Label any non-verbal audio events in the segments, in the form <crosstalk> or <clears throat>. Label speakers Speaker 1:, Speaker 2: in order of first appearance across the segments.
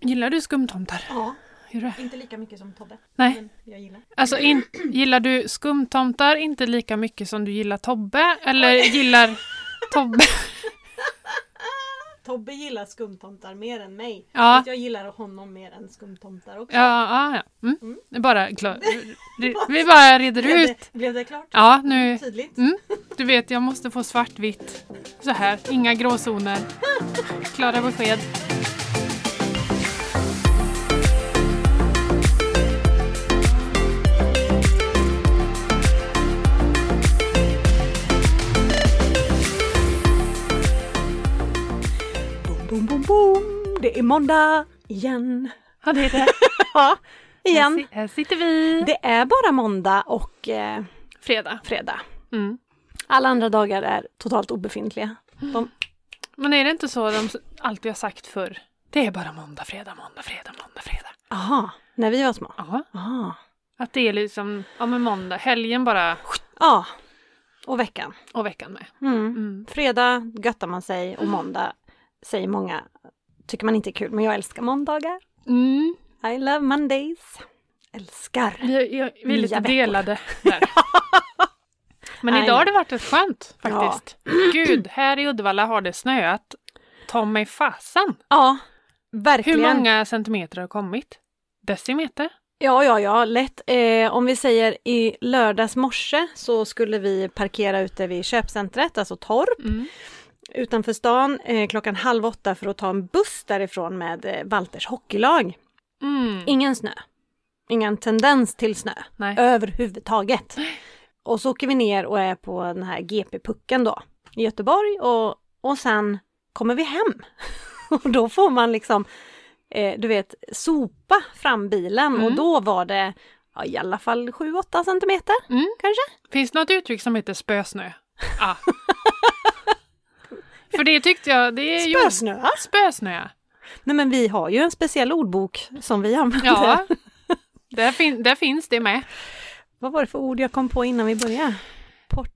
Speaker 1: Gillar du skumtomtar?
Speaker 2: Ja,
Speaker 1: Gör du?
Speaker 2: inte lika mycket som Tobbe.
Speaker 1: Nej.
Speaker 2: Men jag gillar.
Speaker 1: <clears throat> Alltså, in, gillar du skumtomtar inte lika mycket som du gillar Tobbe? Eller gillar <laughs> Tobbe...
Speaker 2: Tobbe gillar skumtomtar mer än mig.
Speaker 1: Ja.
Speaker 2: Fast Jag gillar honom mer än skumtomtar också.
Speaker 1: Ja, ja, ja. Mm.
Speaker 2: Mm.
Speaker 1: Det är Bara <laughs> klar. det- Vi bara reder
Speaker 2: Blev
Speaker 1: ut.
Speaker 2: det, blev det klart?
Speaker 1: Ja, nu.
Speaker 2: Tydligt?
Speaker 1: Mm. Du vet, jag måste få svartvitt. Så här, inga <laughs> gråzoner. Klara besked.
Speaker 2: Boom, boom, boom, boom. Det är måndag igen. <laughs>
Speaker 1: Ja, <laughs> det är det.
Speaker 2: Ja, igen.
Speaker 1: Här, si- här sitter vi.
Speaker 2: Det är bara måndag och eh,
Speaker 1: Fredag.
Speaker 2: fredag.
Speaker 1: Mm.
Speaker 2: Alla andra dagar är totalt obefintliga. De,
Speaker 1: Men är det inte så de s- alltid har sagt förr? Det är bara måndag, fredag, måndag, fredag, måndag, fredag.
Speaker 2: aha, när vi var små.
Speaker 1: Ja.
Speaker 2: Aha.
Speaker 1: Att det är liksom, ja men måndag, helgen bara
Speaker 2: Ja, och veckan.
Speaker 1: och veckan med.
Speaker 2: Mm.
Speaker 1: Mm.
Speaker 2: Fredag göttar man sig och måndag säger många tycker man inte är kul, men jag älskar måndagar.
Speaker 1: Mm.
Speaker 2: I love Mondays. Älskar.
Speaker 1: Vi, vi är
Speaker 2: Nya
Speaker 1: lite
Speaker 2: veckor.
Speaker 1: delade
Speaker 2: <laughs>
Speaker 1: där. Men
Speaker 2: Nej.
Speaker 1: idag har det varit rätt skönt faktiskt. Gud, här i Uddevalla har det snöat. Ta mig fasen!
Speaker 2: Ja, verkligen.
Speaker 1: Hur många centimeter har kommit? Decimeter?
Speaker 2: Ja, ja, ja, lätt. Eh, om vi säger i lördags morse så skulle vi parkera ute vid köpcentret, alltså Torp,
Speaker 1: Mm.
Speaker 2: utanför stan eh, klockan halv åtta för att ta en buss därifrån med eh, Walters hockeylag.
Speaker 1: Mm.
Speaker 2: Ingen snö. Ingen tendens till snö
Speaker 1: Nej.
Speaker 2: överhuvudtaget. Och så åker vi ner och är på den här GP-pucken då i Göteborg och, och sen kommer vi hem. <laughs> och då får man liksom, eh, du vet, sopa fram bilen och
Speaker 1: Mm.
Speaker 2: då var det ja, i alla fall 7-8 centimeter.
Speaker 1: Mm.
Speaker 2: Kanske?
Speaker 1: Finns det något uttryck som heter
Speaker 2: <laughs>
Speaker 1: spösnö? Ah. För det tyckte jag, det är ju...
Speaker 2: Spösnö!
Speaker 1: Spösnö.
Speaker 2: Nej men vi har ju en speciell ordbok som vi använder.
Speaker 1: Ja. Där, fin- där finns det med.
Speaker 2: <laughs> Vad var det för ord jag kom på innan vi började? Portugalist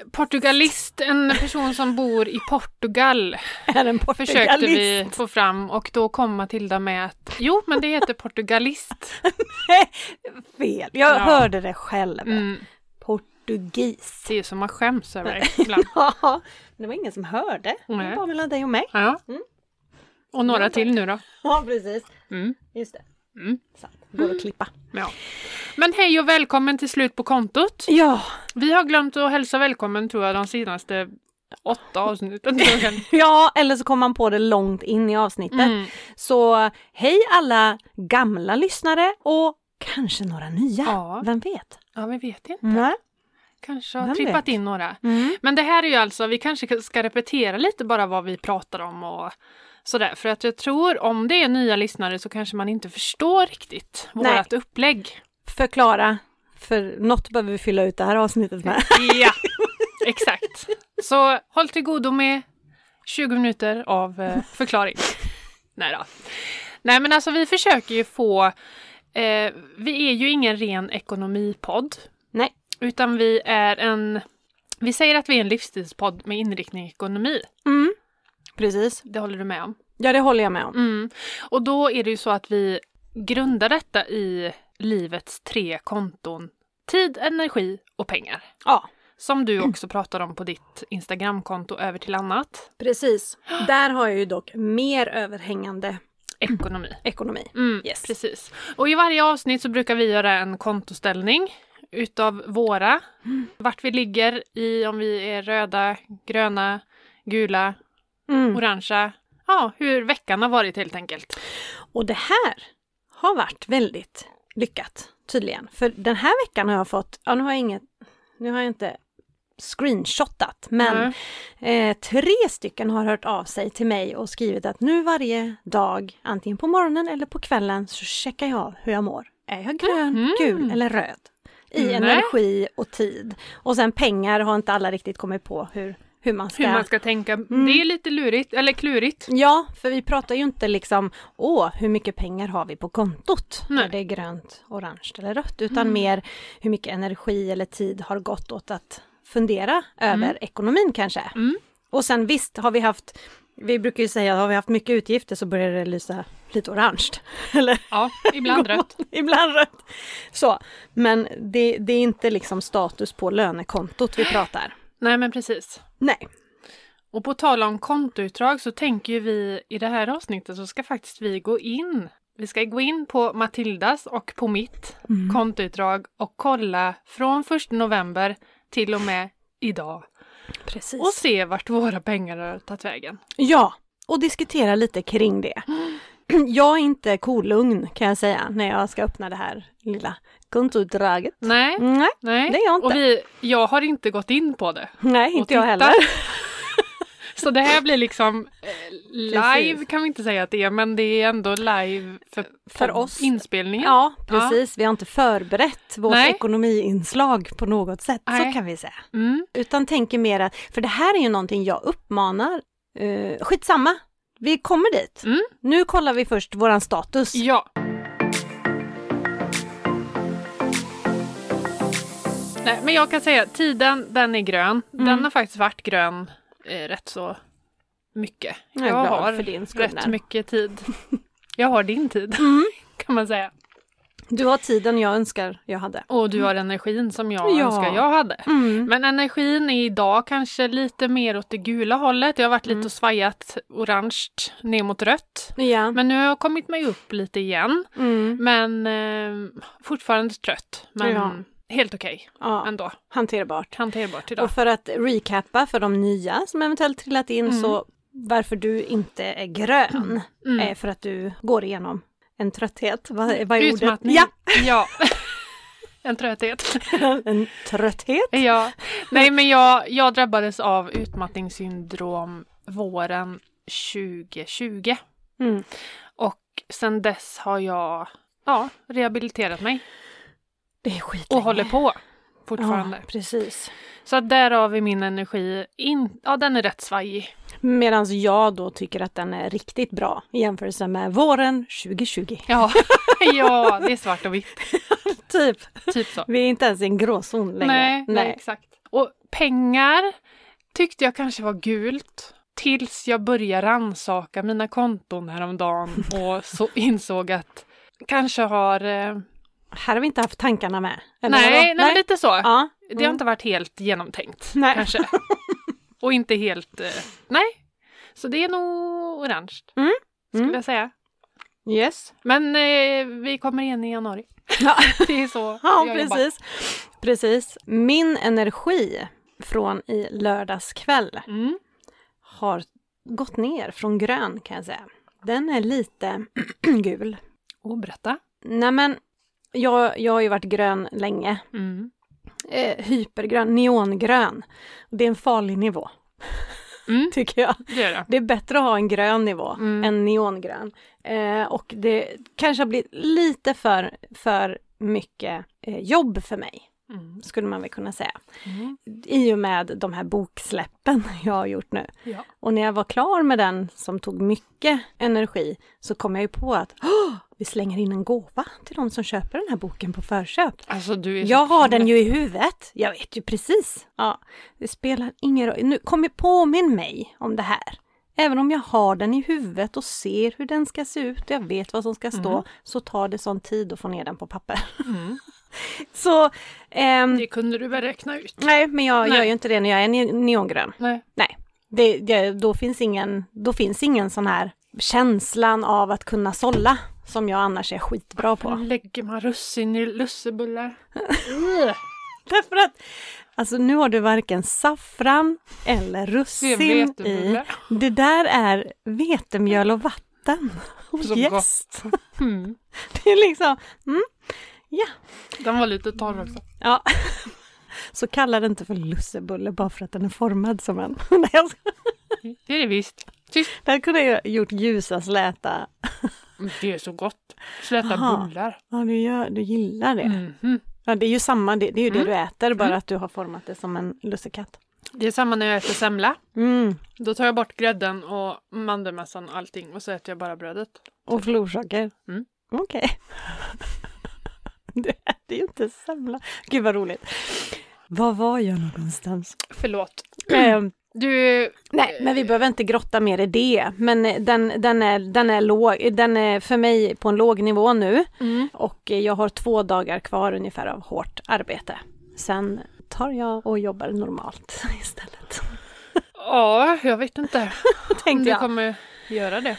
Speaker 1: Eh, portugalist, en person som bor i Portugal,
Speaker 2: <laughs> är en portugalist.
Speaker 1: Eh, försökte vi få fram och då kom Matilda med att jo, men det heter portugalist.
Speaker 2: Fel, jag
Speaker 1: Ja.
Speaker 2: hörde det själv.
Speaker 1: Mm,
Speaker 2: Portugis.
Speaker 1: det är som man skäms över ibland.
Speaker 2: <laughs> Ja, det var ingen som hörde. Det var
Speaker 1: Nej.
Speaker 2: bara mellan dig och mig.
Speaker 1: Ja.
Speaker 2: Mm.
Speaker 1: Och några till nu då.
Speaker 2: <laughs> Ja, precis.
Speaker 1: Mm.
Speaker 2: Just det.
Speaker 1: Mm.
Speaker 2: Så, går att klippa.
Speaker 1: Ja. Men hej och välkommen till slut på kontot.
Speaker 2: Ja,
Speaker 1: Vi har glömt att hälsa välkommen tror jag de senaste åtta
Speaker 2: <laughs>
Speaker 1: avsnitten.
Speaker 2: ja, eller så kom man på det långt in i avsnittet.
Speaker 1: Mm.
Speaker 2: Så hej alla gamla lyssnare och kanske några nya.
Speaker 1: Ja.
Speaker 2: Vem vet?
Speaker 1: Ja, vi vet inte.
Speaker 2: Nej.
Speaker 1: Kanske har
Speaker 2: Vem
Speaker 1: trippat
Speaker 2: vet?
Speaker 1: in några.
Speaker 2: Mm.
Speaker 1: Men det här är ju alltså, vi kanske ska repetera lite bara vad vi pratar om och sådär. För att jag tror om det är nya lyssnare så kanske man inte förstår riktigt
Speaker 2: Nej.
Speaker 1: vårat upplägg.
Speaker 2: Förklara, för något behöver vi fylla ut det här avsnittet med.
Speaker 1: Ja, exakt. Så håll till godo med 20 minuter av eh, förklaring. Nej då. Nej men alltså vi försöker ju få, eh, vi är ju ingen ren ekonomipodd.
Speaker 2: Nej.
Speaker 1: Utan vi är en, vi säger att vi är en livsstilspodd med inriktning ekonomi.
Speaker 2: <laughs> Mm. Precis.
Speaker 1: Det håller du med om?
Speaker 2: Ja, det håller jag med om.
Speaker 1: Mm. Och då är det ju så att vi grundar detta i livets tre konton. Tid, energi och pengar.
Speaker 2: Ja,
Speaker 1: Som
Speaker 2: Mm.
Speaker 1: du också pratar om på ditt Instagramkonto över till annat.
Speaker 2: precis. Där har jag ju dock mer överhängande
Speaker 1: Ekonomi.
Speaker 2: ekonomi.
Speaker 1: Mm,
Speaker 2: Yes.
Speaker 1: Precis. Och i varje avsnitt så brukar vi göra en kontoställning utav våra.
Speaker 2: Mm.
Speaker 1: Vart vi ligger i, om vi är röda, gröna, gula,
Speaker 2: Mm.
Speaker 1: orangea. Ja, hur veckan har varit helt enkelt.
Speaker 2: Och det här har varit väldigt lyckat tydligen. För den här veckan har jag fått, ja nu har jag inget, nu har jag inte screenshotat,
Speaker 1: Mm.
Speaker 2: men eh, tre stycken har hört av sig till mig och skrivit att nu varje dag, antingen på morgonen eller på kvällen, så checkar jag av hur jag mår. Är jag grön,
Speaker 1: Mhm.
Speaker 2: gul eller röd? I
Speaker 1: Mm. Nej.
Speaker 2: energi och tid. Och sen pengar har inte alla riktigt kommit på hur, hur man ska
Speaker 1: Hur man ska tänka.
Speaker 2: Mm.
Speaker 1: Det är lite lurigt, eller klurigt.
Speaker 2: Ja, för vi pratar ju inte liksom, åh, hur mycket pengar har vi på kontot?
Speaker 1: Nej.
Speaker 2: Är det grönt, orange eller rött? Utan mer hur mycket energi eller tid har gått åt att fundera över ekonomin kanske.
Speaker 1: Mm.
Speaker 2: Och sen visst har vi haft Vi brukar ju säga att har vi haft mycket utgifter så börjar det lysa lite orange. <laughs> Eller
Speaker 1: Ja, ibland rött.
Speaker 2: ibland rött. Så, men det, det är inte liksom status på lönekontot vi pratar.
Speaker 1: Nej, men precis.
Speaker 2: Nej.
Speaker 1: Och på tal om kontoutdrag så tänker ju vi i det här avsnittet så ska faktiskt vi gå in. Vi ska gå in på Matildas och på mitt
Speaker 2: Mm.
Speaker 1: kontoutdrag och kolla från 1 november till och med idag
Speaker 2: Precis.
Speaker 1: och se vart våra pengar har tagit vägen.
Speaker 2: Ja, och diskutera lite kring det. <clears throat> Jag är inte kolugn kan jag säga när jag ska öppna det här lilla kontoutdraget.
Speaker 1: Nej,
Speaker 2: Nej,
Speaker 1: nej.
Speaker 2: Mm. det är jag inte.
Speaker 1: Och vi, jag har inte gått in på det.
Speaker 2: Nej,
Speaker 1: och
Speaker 2: inte jag
Speaker 1: tittar.
Speaker 2: heller.
Speaker 1: <laughs> Så det här blir liksom eh, live
Speaker 2: Precis.
Speaker 1: kan vi inte säga att det är, men det är ändå live för,
Speaker 2: För oss.
Speaker 1: inspelningen.
Speaker 2: Ja, precis. Vi har inte förberett vårt
Speaker 1: Nej.
Speaker 2: ekonomiinslag på något sätt, så
Speaker 1: Nej.
Speaker 2: kan vi säga.
Speaker 1: Mm.
Speaker 2: Utan tänker mer att, för det här är ju någonting jag uppmanar, eh, skitsamma, vi kommer dit.
Speaker 1: Mm.
Speaker 2: Nu kollar vi först våran status.
Speaker 1: Ja. Nej, men jag kan säga tiden, den är grön.
Speaker 2: Mm.
Speaker 1: Den har faktiskt varit grön eh, rätt så mycket.
Speaker 2: Jag är
Speaker 1: jag
Speaker 2: glad
Speaker 1: har
Speaker 2: för din skull Mm.
Speaker 1: rätt
Speaker 2: där.
Speaker 1: mycket
Speaker 2: <laughs>
Speaker 1: tid. Jag har din tid, <laughs> kan man säga.
Speaker 2: Du har tiden jag önskar jag hade.
Speaker 1: Och du har energin som jag
Speaker 2: Ja.
Speaker 1: önskar jag hade.
Speaker 2: Mm.
Speaker 1: Men energin är idag kanske lite mer åt det gula hållet. Jag har varit
Speaker 2: Mm.
Speaker 1: lite och svajat orange ner mot rött.
Speaker 2: Ja.
Speaker 1: Men nu har jag kommit mig upp lite igen.
Speaker 2: Mm.
Speaker 1: Men eh, fortfarande trött. Men
Speaker 2: Ja.
Speaker 1: helt okej
Speaker 2: ja,
Speaker 1: ändå.
Speaker 2: hanterbart.
Speaker 1: Hanterbart idag.
Speaker 2: Och för att recappa för de nya som eventuellt trillat in
Speaker 1: Mm.
Speaker 2: så varför du inte är grön är för att du går igenom en trötthet. Vad, vad är
Speaker 1: Mm. Utmattning.
Speaker 2: ordet?
Speaker 1: ja. <laughs> en trötthet.
Speaker 2: Ja, <laughs> en trötthet.
Speaker 1: ja. Nej men jag, jag drabbades av utmattningssyndrom våren 2020.
Speaker 2: Mm.
Speaker 1: Och sen dess har jag ja, rehabiliterat mig.
Speaker 2: Det är skit
Speaker 1: Och håller på fortfarande.
Speaker 2: Ja, precis.
Speaker 1: Så att därav är min energi, in, ja den är rätt svajig.
Speaker 2: Medan jag då tycker att den är riktigt bra i jämförelse med våren 2020.
Speaker 1: Ja, <laughs> ja det är svart och vitt.
Speaker 2: Typ.
Speaker 1: Typ så.
Speaker 2: Vi är inte ens i en gråzon längre.
Speaker 1: Nej, nej, exakt. Och pengar tyckte jag kanske var gult. Tills jag började rannsaka mina konton häromdagen och så <laughs> insåg att kanske har... Eh,
Speaker 2: Här har vi inte haft tankarna med. eller
Speaker 1: nej,
Speaker 2: vadå?
Speaker 1: nej, men lite så.
Speaker 2: Ja.
Speaker 1: Det har inte varit helt genomtänkt
Speaker 2: Nej. <laughs>
Speaker 1: kanske. Och inte helt... Eh, nej. Så det är nog orange,
Speaker 2: Mm.
Speaker 1: skulle
Speaker 2: Mm.
Speaker 1: jag säga.
Speaker 2: Yes.
Speaker 1: Men eh, vi kommer igen i <laughs> januari.
Speaker 2: Ja,
Speaker 1: Det är så
Speaker 2: ja
Speaker 1: jag jobbar.
Speaker 2: precis. precis. Min energi från i lördags kväll
Speaker 1: Mm.
Speaker 2: har gått ner från grön kan jag säga. Den är lite <clears throat> gul.
Speaker 1: Och berätta.
Speaker 2: Nej men, jag, jag har ju varit grön länge.
Speaker 1: Mm.
Speaker 2: eh, hypergrön, neongrön. Och Det är en farlig nivå,
Speaker 1: Mm.
Speaker 2: <laughs> tycker jag.
Speaker 1: Det gör jag.
Speaker 2: Det är bättre att ha en grön nivå
Speaker 1: Mm.
Speaker 2: än neongrön. Eh, och det kanske har blivit lite för, för mycket eh, jobb för mig,
Speaker 1: Mm.
Speaker 2: skulle man väl kunna säga.
Speaker 1: Mm.
Speaker 2: I och med de här boksläppen <laughs> jag har gjort nu.
Speaker 1: Ja.
Speaker 2: Och när jag var klar med den som tog mycket energi så kom jag ju på att "Åh, vi slänger in en gåva till de som köper den här boken på förköp.
Speaker 1: Alltså du är så
Speaker 2: Jag har den
Speaker 1: himla-
Speaker 2: ju i huvudet. Jag vet ju precis. Ja, det spelar ingen roll. Nu, kom påminn mig om det här. Även om jag har den i huvudet och ser hur den ska se ut och jag vet vad som ska stå, så tar det sån tid att få ner den på papper.
Speaker 1: Mm.
Speaker 2: <laughs> Så, ehm,
Speaker 1: Det kunde du väl räkna ut?
Speaker 2: nej, men jag
Speaker 1: Nej.
Speaker 2: gör ju inte det när jag är ne- neongrön.
Speaker 1: Nej.
Speaker 2: Nej, det, det, då, finns ingen, då finns ingen sån här känslan av att kunna sålla som jag annars är skitbra på.
Speaker 1: Nu lägger man russin i <laughs> lussebullar.
Speaker 2: <laughs> Därför att, alltså nu har du varken saffran eller russin
Speaker 1: Det är
Speaker 2: i.
Speaker 1: vetebulle.
Speaker 2: Det där är vetemjöl och
Speaker 1: <laughs>
Speaker 2: vatten. Och
Speaker 1: Så
Speaker 2: jäst.
Speaker 1: <laughs> Mm.
Speaker 2: Det är liksom, mm,
Speaker 1: Den var lite torr också.
Speaker 2: ja. <laughs> Så kalla det inte för lussebulle bara för att den är formad som en. <laughs> Nej, jag skojar.
Speaker 1: Det är det visst. Tyst.
Speaker 2: Där kunde jag gjort ljusa släta.
Speaker 1: Det är så gott. Släta
Speaker 2: Aha.
Speaker 1: bullar.
Speaker 2: Ja, du, gör, du gillar det.
Speaker 1: Mhm.
Speaker 2: Ja, det är ju samma, det, det är ju det du äter, bara att du har format det som en lussekatt.
Speaker 1: Det är samma när jag äter semla.
Speaker 2: Mm.
Speaker 1: Då tar jag bort grädden och mandelmassan och allting och så äter jag bara brödet.
Speaker 2: Och florsocker?
Speaker 1: Mm.
Speaker 2: Okej. <laughs> du äter ju inte semla. Gud vad roligt. Var var jag någonstans?
Speaker 1: Förlåt.
Speaker 2: <clears throat> Ehm,
Speaker 1: Du,
Speaker 2: Nej, men vi behöver inte grotta mer i det. Men eh, den, den, är, den, är låg, den är för mig på en låg nivå nu
Speaker 1: mm.
Speaker 2: och eh, jag har två dagar kvar ungefär av hårt arbete. Sen tar jag och jobbar normalt <laughs> istället.
Speaker 1: ja, jag vet inte om
Speaker 2: Tänkte
Speaker 1: du
Speaker 2: jag.
Speaker 1: kommer göra det.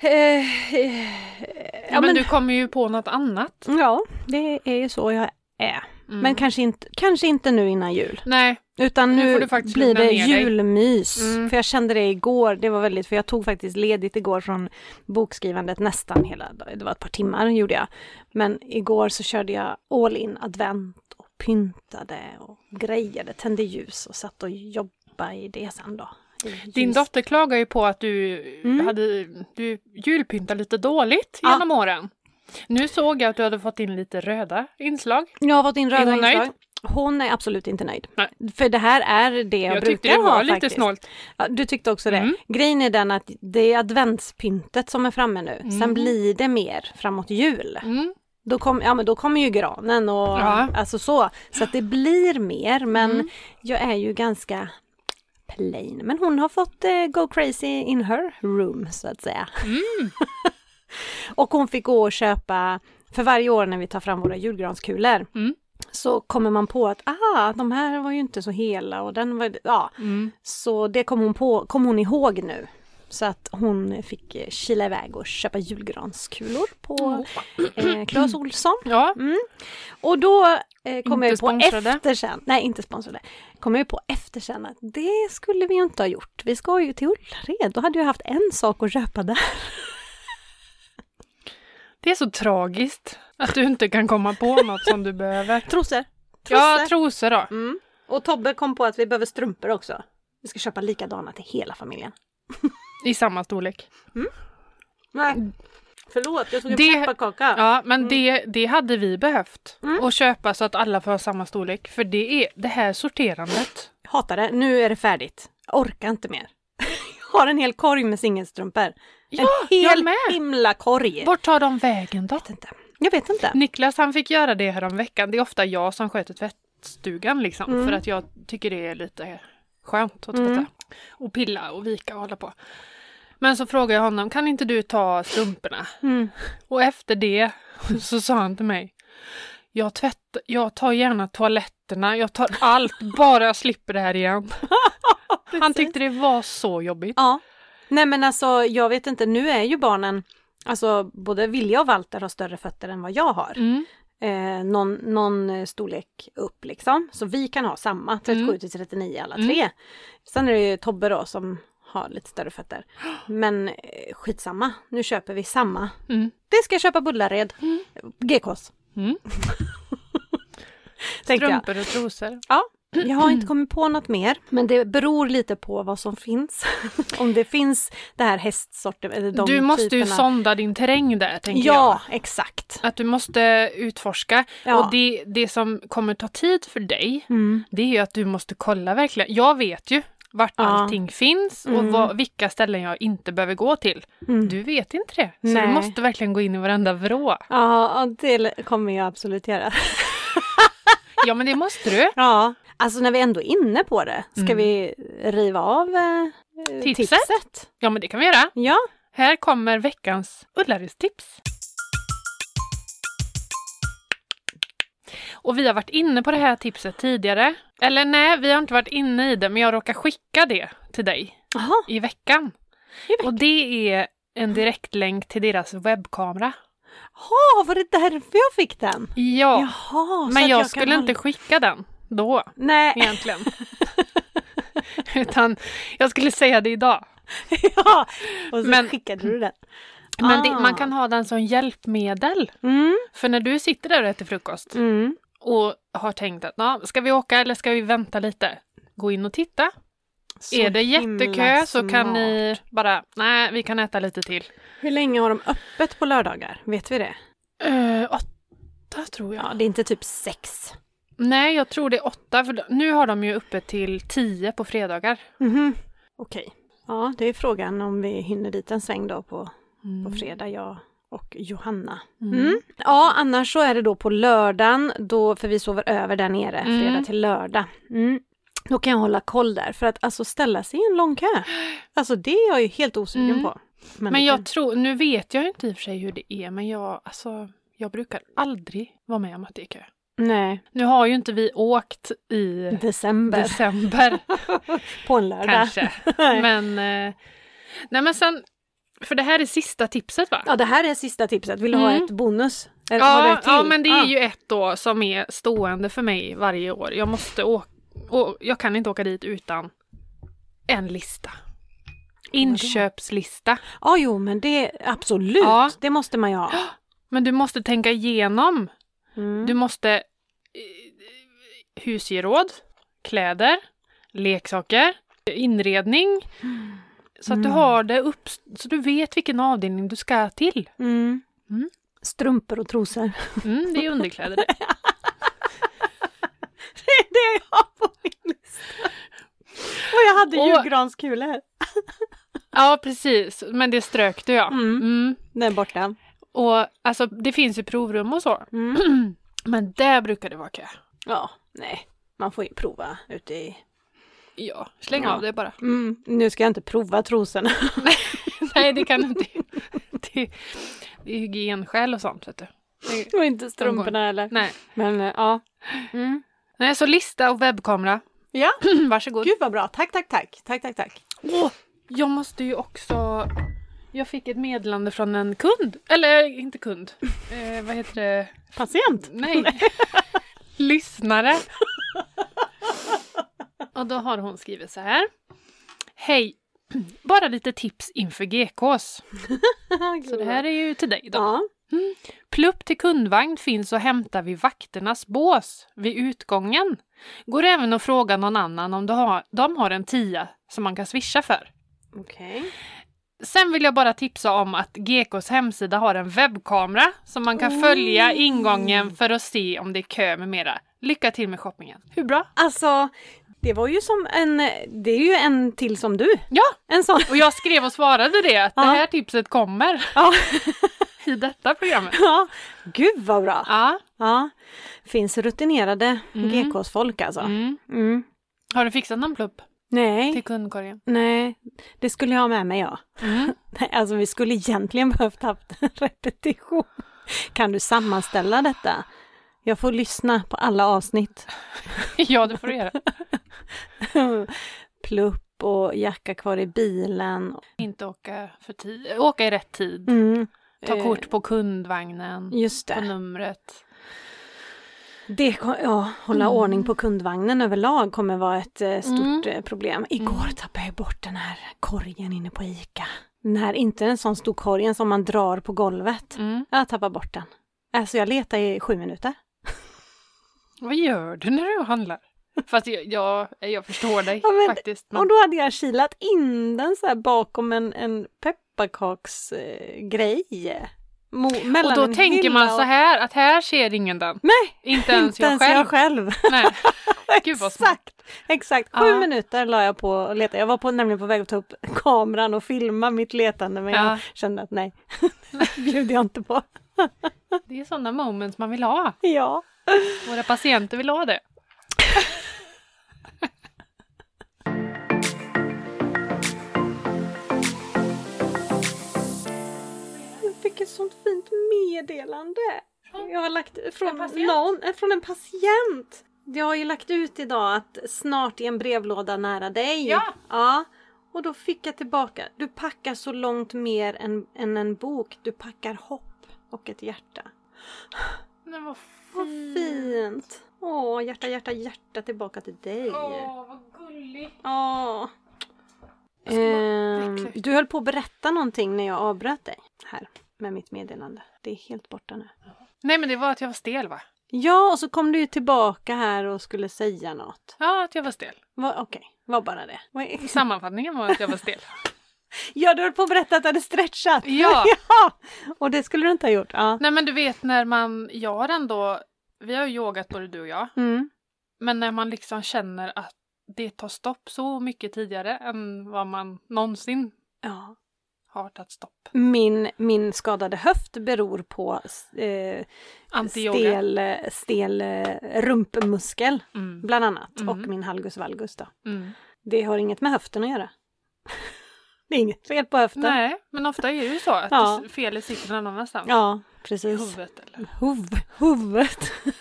Speaker 2: Eh, eh,
Speaker 1: Ja,
Speaker 2: ja,
Speaker 1: men,
Speaker 2: men,
Speaker 1: du kommer ju på något annat.
Speaker 2: ja, det är ju så jag är.
Speaker 1: Mm.
Speaker 2: Men kanske inte, kanske inte nu innan jul.
Speaker 1: Nej,
Speaker 2: Utan
Speaker 1: Nu
Speaker 2: nu,
Speaker 1: får du faktiskt
Speaker 2: blir
Speaker 1: lugna
Speaker 2: det
Speaker 1: ner dig.
Speaker 2: julmys.
Speaker 1: Mm.
Speaker 2: För jag kände det igår, det var väldigt, för jag tog faktiskt ledigt igår från bokskrivandet nästan hela dagen. Det var ett par timmar gjorde jag. Men igår så körde jag all in advent och pyntade och grejade, tände ljus och satt och jobbade i det sen då. I
Speaker 1: din
Speaker 2: ljus-
Speaker 1: dotter klagar ju på att du,
Speaker 2: Mm.
Speaker 1: hade, du julpyntade lite dåligt
Speaker 2: Ja.
Speaker 1: genom åren. Nu såg jag att du hade fått in lite röda inslag.
Speaker 2: Jag har fått in röda
Speaker 1: Är hon nöjd?
Speaker 2: inslag. Hon är absolut inte nöjd.
Speaker 1: Nej.
Speaker 2: För det här är det jag,
Speaker 1: Jag, tyckte
Speaker 2: brukar
Speaker 1: det var
Speaker 2: ha
Speaker 1: lite
Speaker 2: faktiskt.
Speaker 1: snålt.
Speaker 2: Ja, du tyckte också det.
Speaker 1: Mm.
Speaker 2: Grejen är den att det är adventspyntet som är framme nu.
Speaker 1: Mm.
Speaker 2: Sen blir det mer framåt jul.
Speaker 1: Mm.
Speaker 2: Då, kom, ja, men då kommer ju granen och
Speaker 1: Ja.
Speaker 2: alltså så. Så att det blir mer, men
Speaker 1: Mm.
Speaker 2: jag är ju ganska plain. Men hon har fått eh, go crazy in her room, så att säga.
Speaker 1: Mm.
Speaker 2: <laughs> och hon fick gå och köpa, för varje år när vi tar fram våra julgranskulor,
Speaker 1: Mm.
Speaker 2: så kommer man på att ah, de här var ju inte så hela och den var, ja.
Speaker 1: Mm.
Speaker 2: Så det kom hon, på, kom hon ihåg nu. Så att hon fick eh, kila iväg och köpa julgranskulor på eh, Clas Ohlson. Mm.
Speaker 1: Ja,
Speaker 2: Och då eh,
Speaker 1: Inte
Speaker 2: kom jag ju på
Speaker 1: sponsrade.
Speaker 2: efter sen, nej inte sponsrade, kom jag ju på efter sen att det skulle vi ju inte ha gjort. Vi ska ju till Ullared, då hade jag haft en sak att köpa <laughs> där.
Speaker 1: det är så tragiskt att du inte kan komma på något som du
Speaker 2: <laughs>
Speaker 1: behöver.
Speaker 2: Trosor!
Speaker 1: Ja, trosor då.
Speaker 2: mm. Och Tobbe kom på att vi behöver strumpor också. Vi ska köpa likadana till hela familjen.
Speaker 1: I samma storlek.
Speaker 2: Nej. Förlåt, jag tog
Speaker 1: en Det-
Speaker 2: pepparkaka.
Speaker 1: Ja, men det, det hade vi behövt.
Speaker 2: Mm.
Speaker 1: Och köpa så att alla får ha samma storlek. För det är det här sorterandet.
Speaker 2: Hatar det. Nu är det färdigt. Jag orkar inte mer. <laughs> Jag har en hel korg med singelstrumpor.
Speaker 1: Ja,
Speaker 2: en
Speaker 1: jag
Speaker 2: hel
Speaker 1: med.
Speaker 2: himla korg.
Speaker 1: Vart tar de vägen då?
Speaker 2: Jag vet inte. Jag vet inte.
Speaker 1: Niklas han fick göra det här om veckan. Det är ofta jag som sköter tvättstugan liksom.
Speaker 2: Mm.
Speaker 1: För att jag tycker det är lite skönt att tvätta.
Speaker 2: Mm.
Speaker 1: Och pilla och vika och hålla på. Men så frågade jag honom, kan inte du ta strumporna?
Speaker 2: Mm.
Speaker 1: Och efter det <laughs> så sa han till mig, jag, tvätt, jag tar gärna toaletterna, jag tar
Speaker 2: <laughs>
Speaker 1: allt, bara jag slipper det här igen. Han tyckte det var så jobbigt.
Speaker 2: Ja. Nej men alltså jag vet inte, nu är ju barnen, alltså både Vilja och Walter har större fötter än vad jag har.
Speaker 1: Mm.
Speaker 2: Eh, någon, någon eh, storlek upp liksom. Så vi kan ha samma, 37
Speaker 1: Mm.
Speaker 2: till 39 alla
Speaker 1: Mm.
Speaker 2: tre. Sen är det ju Tobbe då som har lite större fötter.
Speaker 1: <gasps>
Speaker 2: Men eh, skitsamma, nu köper vi samma.
Speaker 1: Mm.
Speaker 2: Det ska jag köpa Bullared.
Speaker 1: Mm.
Speaker 2: GKs.
Speaker 1: Mm.
Speaker 2: Tänkte jag.
Speaker 1: Strumpor och trosor.
Speaker 2: jag har inte kommit på något mer, men det beror lite på vad som finns. <laughs> Om det finns det här hästsorten eller de
Speaker 1: Du måste ju
Speaker 2: typerna.
Speaker 1: sonda din terräng där, tänker jag.
Speaker 2: Ja, exakt.
Speaker 1: Att du måste utforska.
Speaker 2: Ja.
Speaker 1: Och det, det som kommer ta tid för dig,
Speaker 2: Mm.
Speaker 1: det är ju att du måste kolla verkligen. Jag vet ju vart
Speaker 2: Ja.
Speaker 1: allting finns och
Speaker 2: Mm.
Speaker 1: vad, vilka ställen jag inte behöver gå till.
Speaker 2: Mm.
Speaker 1: Du vet inte det. Så
Speaker 2: Nej.
Speaker 1: du måste verkligen gå in i varenda vrå.
Speaker 2: Ja, ja, det kommer jag absolut göra. <laughs>
Speaker 1: Ja, men det måste du.
Speaker 2: Ja, alltså när vi ändå är inne på det, ska
Speaker 1: Mm.
Speaker 2: vi riva av eh,
Speaker 1: Tipset?
Speaker 2: tipset?
Speaker 1: Ja, men det kan vi göra.
Speaker 2: Ja,
Speaker 1: Här kommer veckans Ullareds-tips. Och vi har varit inne på det här tipset tidigare. Eller nej, vi har inte varit inne i det, men jag råkar skicka det till dig
Speaker 2: Jaha.
Speaker 1: i veckan. Och det är en direktlänk till deras webbkamera.
Speaker 2: Jaha, var det därför jag fick den?
Speaker 1: Ja,
Speaker 2: Jaha, så
Speaker 1: men
Speaker 2: att
Speaker 1: jag,
Speaker 2: kan
Speaker 1: skulle
Speaker 2: hålla-
Speaker 1: inte skicka den då
Speaker 2: Nej, <laughs>
Speaker 1: egentligen. <laughs> Utan jag skulle säga det idag.
Speaker 2: ja. Och så
Speaker 1: Men-
Speaker 2: skickade du den.
Speaker 1: Men det,
Speaker 2: Ah.
Speaker 1: man kan ha den som hjälpmedel.
Speaker 2: Mm.
Speaker 1: För när du sitter där och äter frukost
Speaker 2: Mm.
Speaker 1: och har tänkt att "Nå, ska vi åka eller ska vi vänta lite? Gå in och titta.
Speaker 2: Så
Speaker 1: är det
Speaker 2: himla
Speaker 1: jättekö så kan
Speaker 2: smart.
Speaker 1: ni bara, nej vi kan äta lite till.
Speaker 2: Hur länge har de öppet på lördagar? Vet vi det?
Speaker 1: Eh, åtta tror jag.
Speaker 2: Ja, det är inte typ sex.
Speaker 1: Nej jag tror det är åtta, för nu har de ju uppe till tio på fredagar.
Speaker 2: Mhm. Okej. Ja, det är frågan om vi hinner dit en sväng då på på fredag, jag och Johanna.
Speaker 1: Mm.
Speaker 2: Mm. Ja, annars så är det då på lördagen, då, för vi sover över där nere,
Speaker 1: Mm.
Speaker 2: fredag till lördag. Mm. Då kan jag hålla koll där, för att alltså ställa sig i en
Speaker 1: <gasps>
Speaker 2: lång kö, alltså det är jag ju helt osugen
Speaker 1: Mm.
Speaker 2: på.
Speaker 1: Men
Speaker 2: det
Speaker 1: jag
Speaker 2: kan-
Speaker 1: tror, nu vet jag ju inte i och för sig hur det är, men jag, alltså, jag brukar aldrig vara med om att det är kö.
Speaker 2: Nej,
Speaker 1: Nu har ju inte vi åkt i <laughs>
Speaker 2: december, <laughs>
Speaker 1: december
Speaker 2: på en lördag.
Speaker 1: kanske,
Speaker 2: <laughs> Nej.
Speaker 1: men... Eh, nej men sen, för det här är sista tipset va?
Speaker 2: Ja, det här är sista tipset. Vill du ha
Speaker 1: Mm.
Speaker 2: ett bonus? Eller har du
Speaker 1: Ja,
Speaker 2: ett till?
Speaker 1: ja, men det är
Speaker 2: Ah.
Speaker 1: ju ett då som är stående för mig varje år. Jag måste åka, och jag kan inte åka dit utan en lista. Inköpslista.
Speaker 2: Ja, jo, men det absolut.
Speaker 1: Ja.
Speaker 2: Det måste man
Speaker 1: <gasps>
Speaker 2: ju ha.
Speaker 1: Men du måste tänka igenom.
Speaker 2: Mm.
Speaker 1: Du måste eh, husgeråd, kläder, leksaker, inredning. Så att du
Speaker 2: Mm.
Speaker 1: har det upp, så du vet vilken avdelning du ska
Speaker 2: <laughs>
Speaker 1: till.
Speaker 2: Mm.
Speaker 1: Mm.
Speaker 2: Strumpor
Speaker 1: <laughs>
Speaker 2: och trosor. <laughs>
Speaker 1: Mm, det är underkläder det.
Speaker 2: Det är det jag har på min lista. Och jag hade
Speaker 1: Och-
Speaker 2: julgranskulor.
Speaker 1: Ja, precis. Men det strök du ja.
Speaker 2: Mm.
Speaker 1: Mm.
Speaker 2: Den är borta.
Speaker 1: Och alltså, det finns ju provrum och så.
Speaker 2: Mm.
Speaker 1: Men där brukar det vara kö.
Speaker 2: Ja, nej. Man får ju prova ute i...
Speaker 1: Ja, släng
Speaker 2: Ja.
Speaker 1: av det <laughs> bara.
Speaker 2: Mm. Nu ska jag inte prova trosorna. <laughs>
Speaker 1: Nej, det kan du inte. Det, det är hygienskäl och sånt, vet du. Det,
Speaker 2: Och inte strumporna heller.
Speaker 1: nej.
Speaker 2: Men eh, ja. Mm.
Speaker 1: nej, så lista och webbkamera. <clears throat>
Speaker 2: Ja,
Speaker 1: Varsågod.
Speaker 2: gud vad bra. Tack, tack, tack. Tack, tack, tack.
Speaker 1: Åh, jag måste ju också... Jag fick ett meddelande från en kund. Eller inte <laughs> kund. Eh, vad heter det?
Speaker 2: Patient. <laughs>
Speaker 1: Nej. <laughs> Lyssnare. <laughs> Och då har hon skrivit så här. Hej! <clears throat> Bara lite tips inför GKs. Så det här är ju till dig då.
Speaker 2: Ja.
Speaker 1: Plupp till kundvagn finns att hämta vid vakternas bås vid utgången. Går även att fråga någon annan om du har, de har en tia som man kan swisha för.
Speaker 2: Okej.
Speaker 1: Sen vill jag bara tipsa om att GKs hemsida har en webbkamera som man kan
Speaker 2: Oh.
Speaker 1: följa ingången för att se om det är kö med mera. Lycka till med shoppingen! Hur bra?
Speaker 2: Alltså, det var ju som en... Det är ju en till som du.
Speaker 1: Ja!
Speaker 2: En sån. <laughs>
Speaker 1: Och jag skrev och svarade det att det
Speaker 2: Ja.
Speaker 1: här tipset kommer
Speaker 2: Ja.
Speaker 1: <laughs> i detta programmet.
Speaker 2: ja. Gud vad bra.
Speaker 1: Ja.
Speaker 2: Ja. Finns rutinerade
Speaker 1: Mm.
Speaker 2: GKs folk alltså.
Speaker 1: Mm.
Speaker 2: Mm.
Speaker 1: Har du fixat någon plupp
Speaker 2: Nej,
Speaker 1: till kundkorgen?
Speaker 2: nej. Det skulle jag ha med mig ja.
Speaker 1: Mm.
Speaker 2: Nej, alltså vi skulle egentligen behövt haft en <laughs> repetition. Kan du sammanställa detta? Jag får lyssna på alla avsnitt. <laughs>
Speaker 1: <laughs> ja, det får du göra.
Speaker 2: Plupp och jacka kvar i bilen.
Speaker 1: Inte åka för tid, åka i rätt tid.
Speaker 2: Mm.
Speaker 1: Ta
Speaker 2: Eh,
Speaker 1: kort på kundvagnen,
Speaker 2: Just
Speaker 1: på
Speaker 2: det.
Speaker 1: numret.
Speaker 2: det kom, ja, hålla
Speaker 1: Mm.
Speaker 2: ordning på kundvagnen överlag kommer vara ett eh, stort
Speaker 1: Mm.
Speaker 2: eh, problem. Igår tappade jag bort den här korgen inne på ICA. Den här, inte en sån stor korgen som man drar på golvet.
Speaker 1: Mm.
Speaker 2: Jag tappade bort den. Alltså jag letade i sju minuter.
Speaker 1: Vad gör du när du handlar? Fast jag, jag, jag förstår dig
Speaker 2: <laughs> Ja, men-
Speaker 1: faktiskt. Men,
Speaker 2: Och då hade jag kilat in den så här bakom en, en pepparkaksgrej. Eh, grej. Mo- mellan
Speaker 1: och då
Speaker 2: en
Speaker 1: tänker
Speaker 2: hylla
Speaker 1: man
Speaker 2: och-
Speaker 1: så här att här ser ingen den.
Speaker 2: Nej,
Speaker 1: Inte ens
Speaker 2: inte
Speaker 1: jag
Speaker 2: ens
Speaker 1: själv.
Speaker 2: jag själv.
Speaker 1: Nej. Gud vad smart.
Speaker 2: exakt, exakt. Sju
Speaker 1: Ja.
Speaker 2: minuter la jag på att leta. Jag var på, nämligen på väg att ta upp kameran och filma mitt letande men jag
Speaker 1: Ja,
Speaker 2: kände
Speaker 1: <laughs>
Speaker 2: att nej, det bjuder jag inte på.
Speaker 1: det är sådana moments man vill ha.
Speaker 2: Ja.
Speaker 1: Våra patienter vill ha det.
Speaker 2: Jag fick ett sånt fint meddelande. Jag har lagt från
Speaker 1: En
Speaker 2: en,
Speaker 1: patient?
Speaker 2: någon, eh, från en patient. Jag har ju lagt ut idag att snart är en brevlåda nära dig.
Speaker 1: Ja.
Speaker 2: ja. Och då fick jag tillbaka, du packar så långt mer än, än en bok. Du packar hopp och ett hjärta.
Speaker 1: Men vad
Speaker 2: Vad
Speaker 1: fint.
Speaker 2: fint! Åh, hjärta, hjärta, hjärta tillbaka till dig.
Speaker 1: Åh, vad gulligt.
Speaker 2: Åh.
Speaker 1: Jag ska bara
Speaker 2: Ehm,
Speaker 1: veckla ut.
Speaker 2: du höll på att berätta någonting när jag avbröt dig här med mitt meddelande. Det är helt borta nu.
Speaker 1: Nej, men det var att jag var stel va?
Speaker 2: Ja, och så kom du ju tillbaka här och skulle säga något.
Speaker 1: Ja, att jag var stel.
Speaker 2: Va, Okej, var bara det. Vad är- <laughs>
Speaker 1: Sammanfattningen var att jag var stel.
Speaker 2: Ja, du höll på att berätta att du hade stretchat.
Speaker 1: Ja.
Speaker 2: <laughs> ja. Och det skulle du inte ha gjort. Ja.
Speaker 1: Nej, men du vet när man, jag har ändå, vi har ju yogat både du och jag.
Speaker 2: Mm.
Speaker 1: Men när man liksom känner att det tar stopp så mycket tidigare än vad man någonsin
Speaker 2: Ja.
Speaker 1: har tagit stopp.
Speaker 2: Min, min skadade höft beror på eh,
Speaker 1: Anti-yoga.
Speaker 2: stel, stel eh, rumpmuskel
Speaker 1: Mm.
Speaker 2: bland annat och
Speaker 1: Mm.
Speaker 2: min halgus valgus då.
Speaker 1: Mm.
Speaker 2: Det har inget med höften att göra. <laughs> det är inget fel på höften.
Speaker 1: Nej, men ofta är det ju så att
Speaker 2: Ja.
Speaker 1: felet sitter någon annanstans.
Speaker 2: Ja,
Speaker 1: I
Speaker 2: precis.
Speaker 1: huvudet eller?
Speaker 2: Huv, huvudet. <laughs>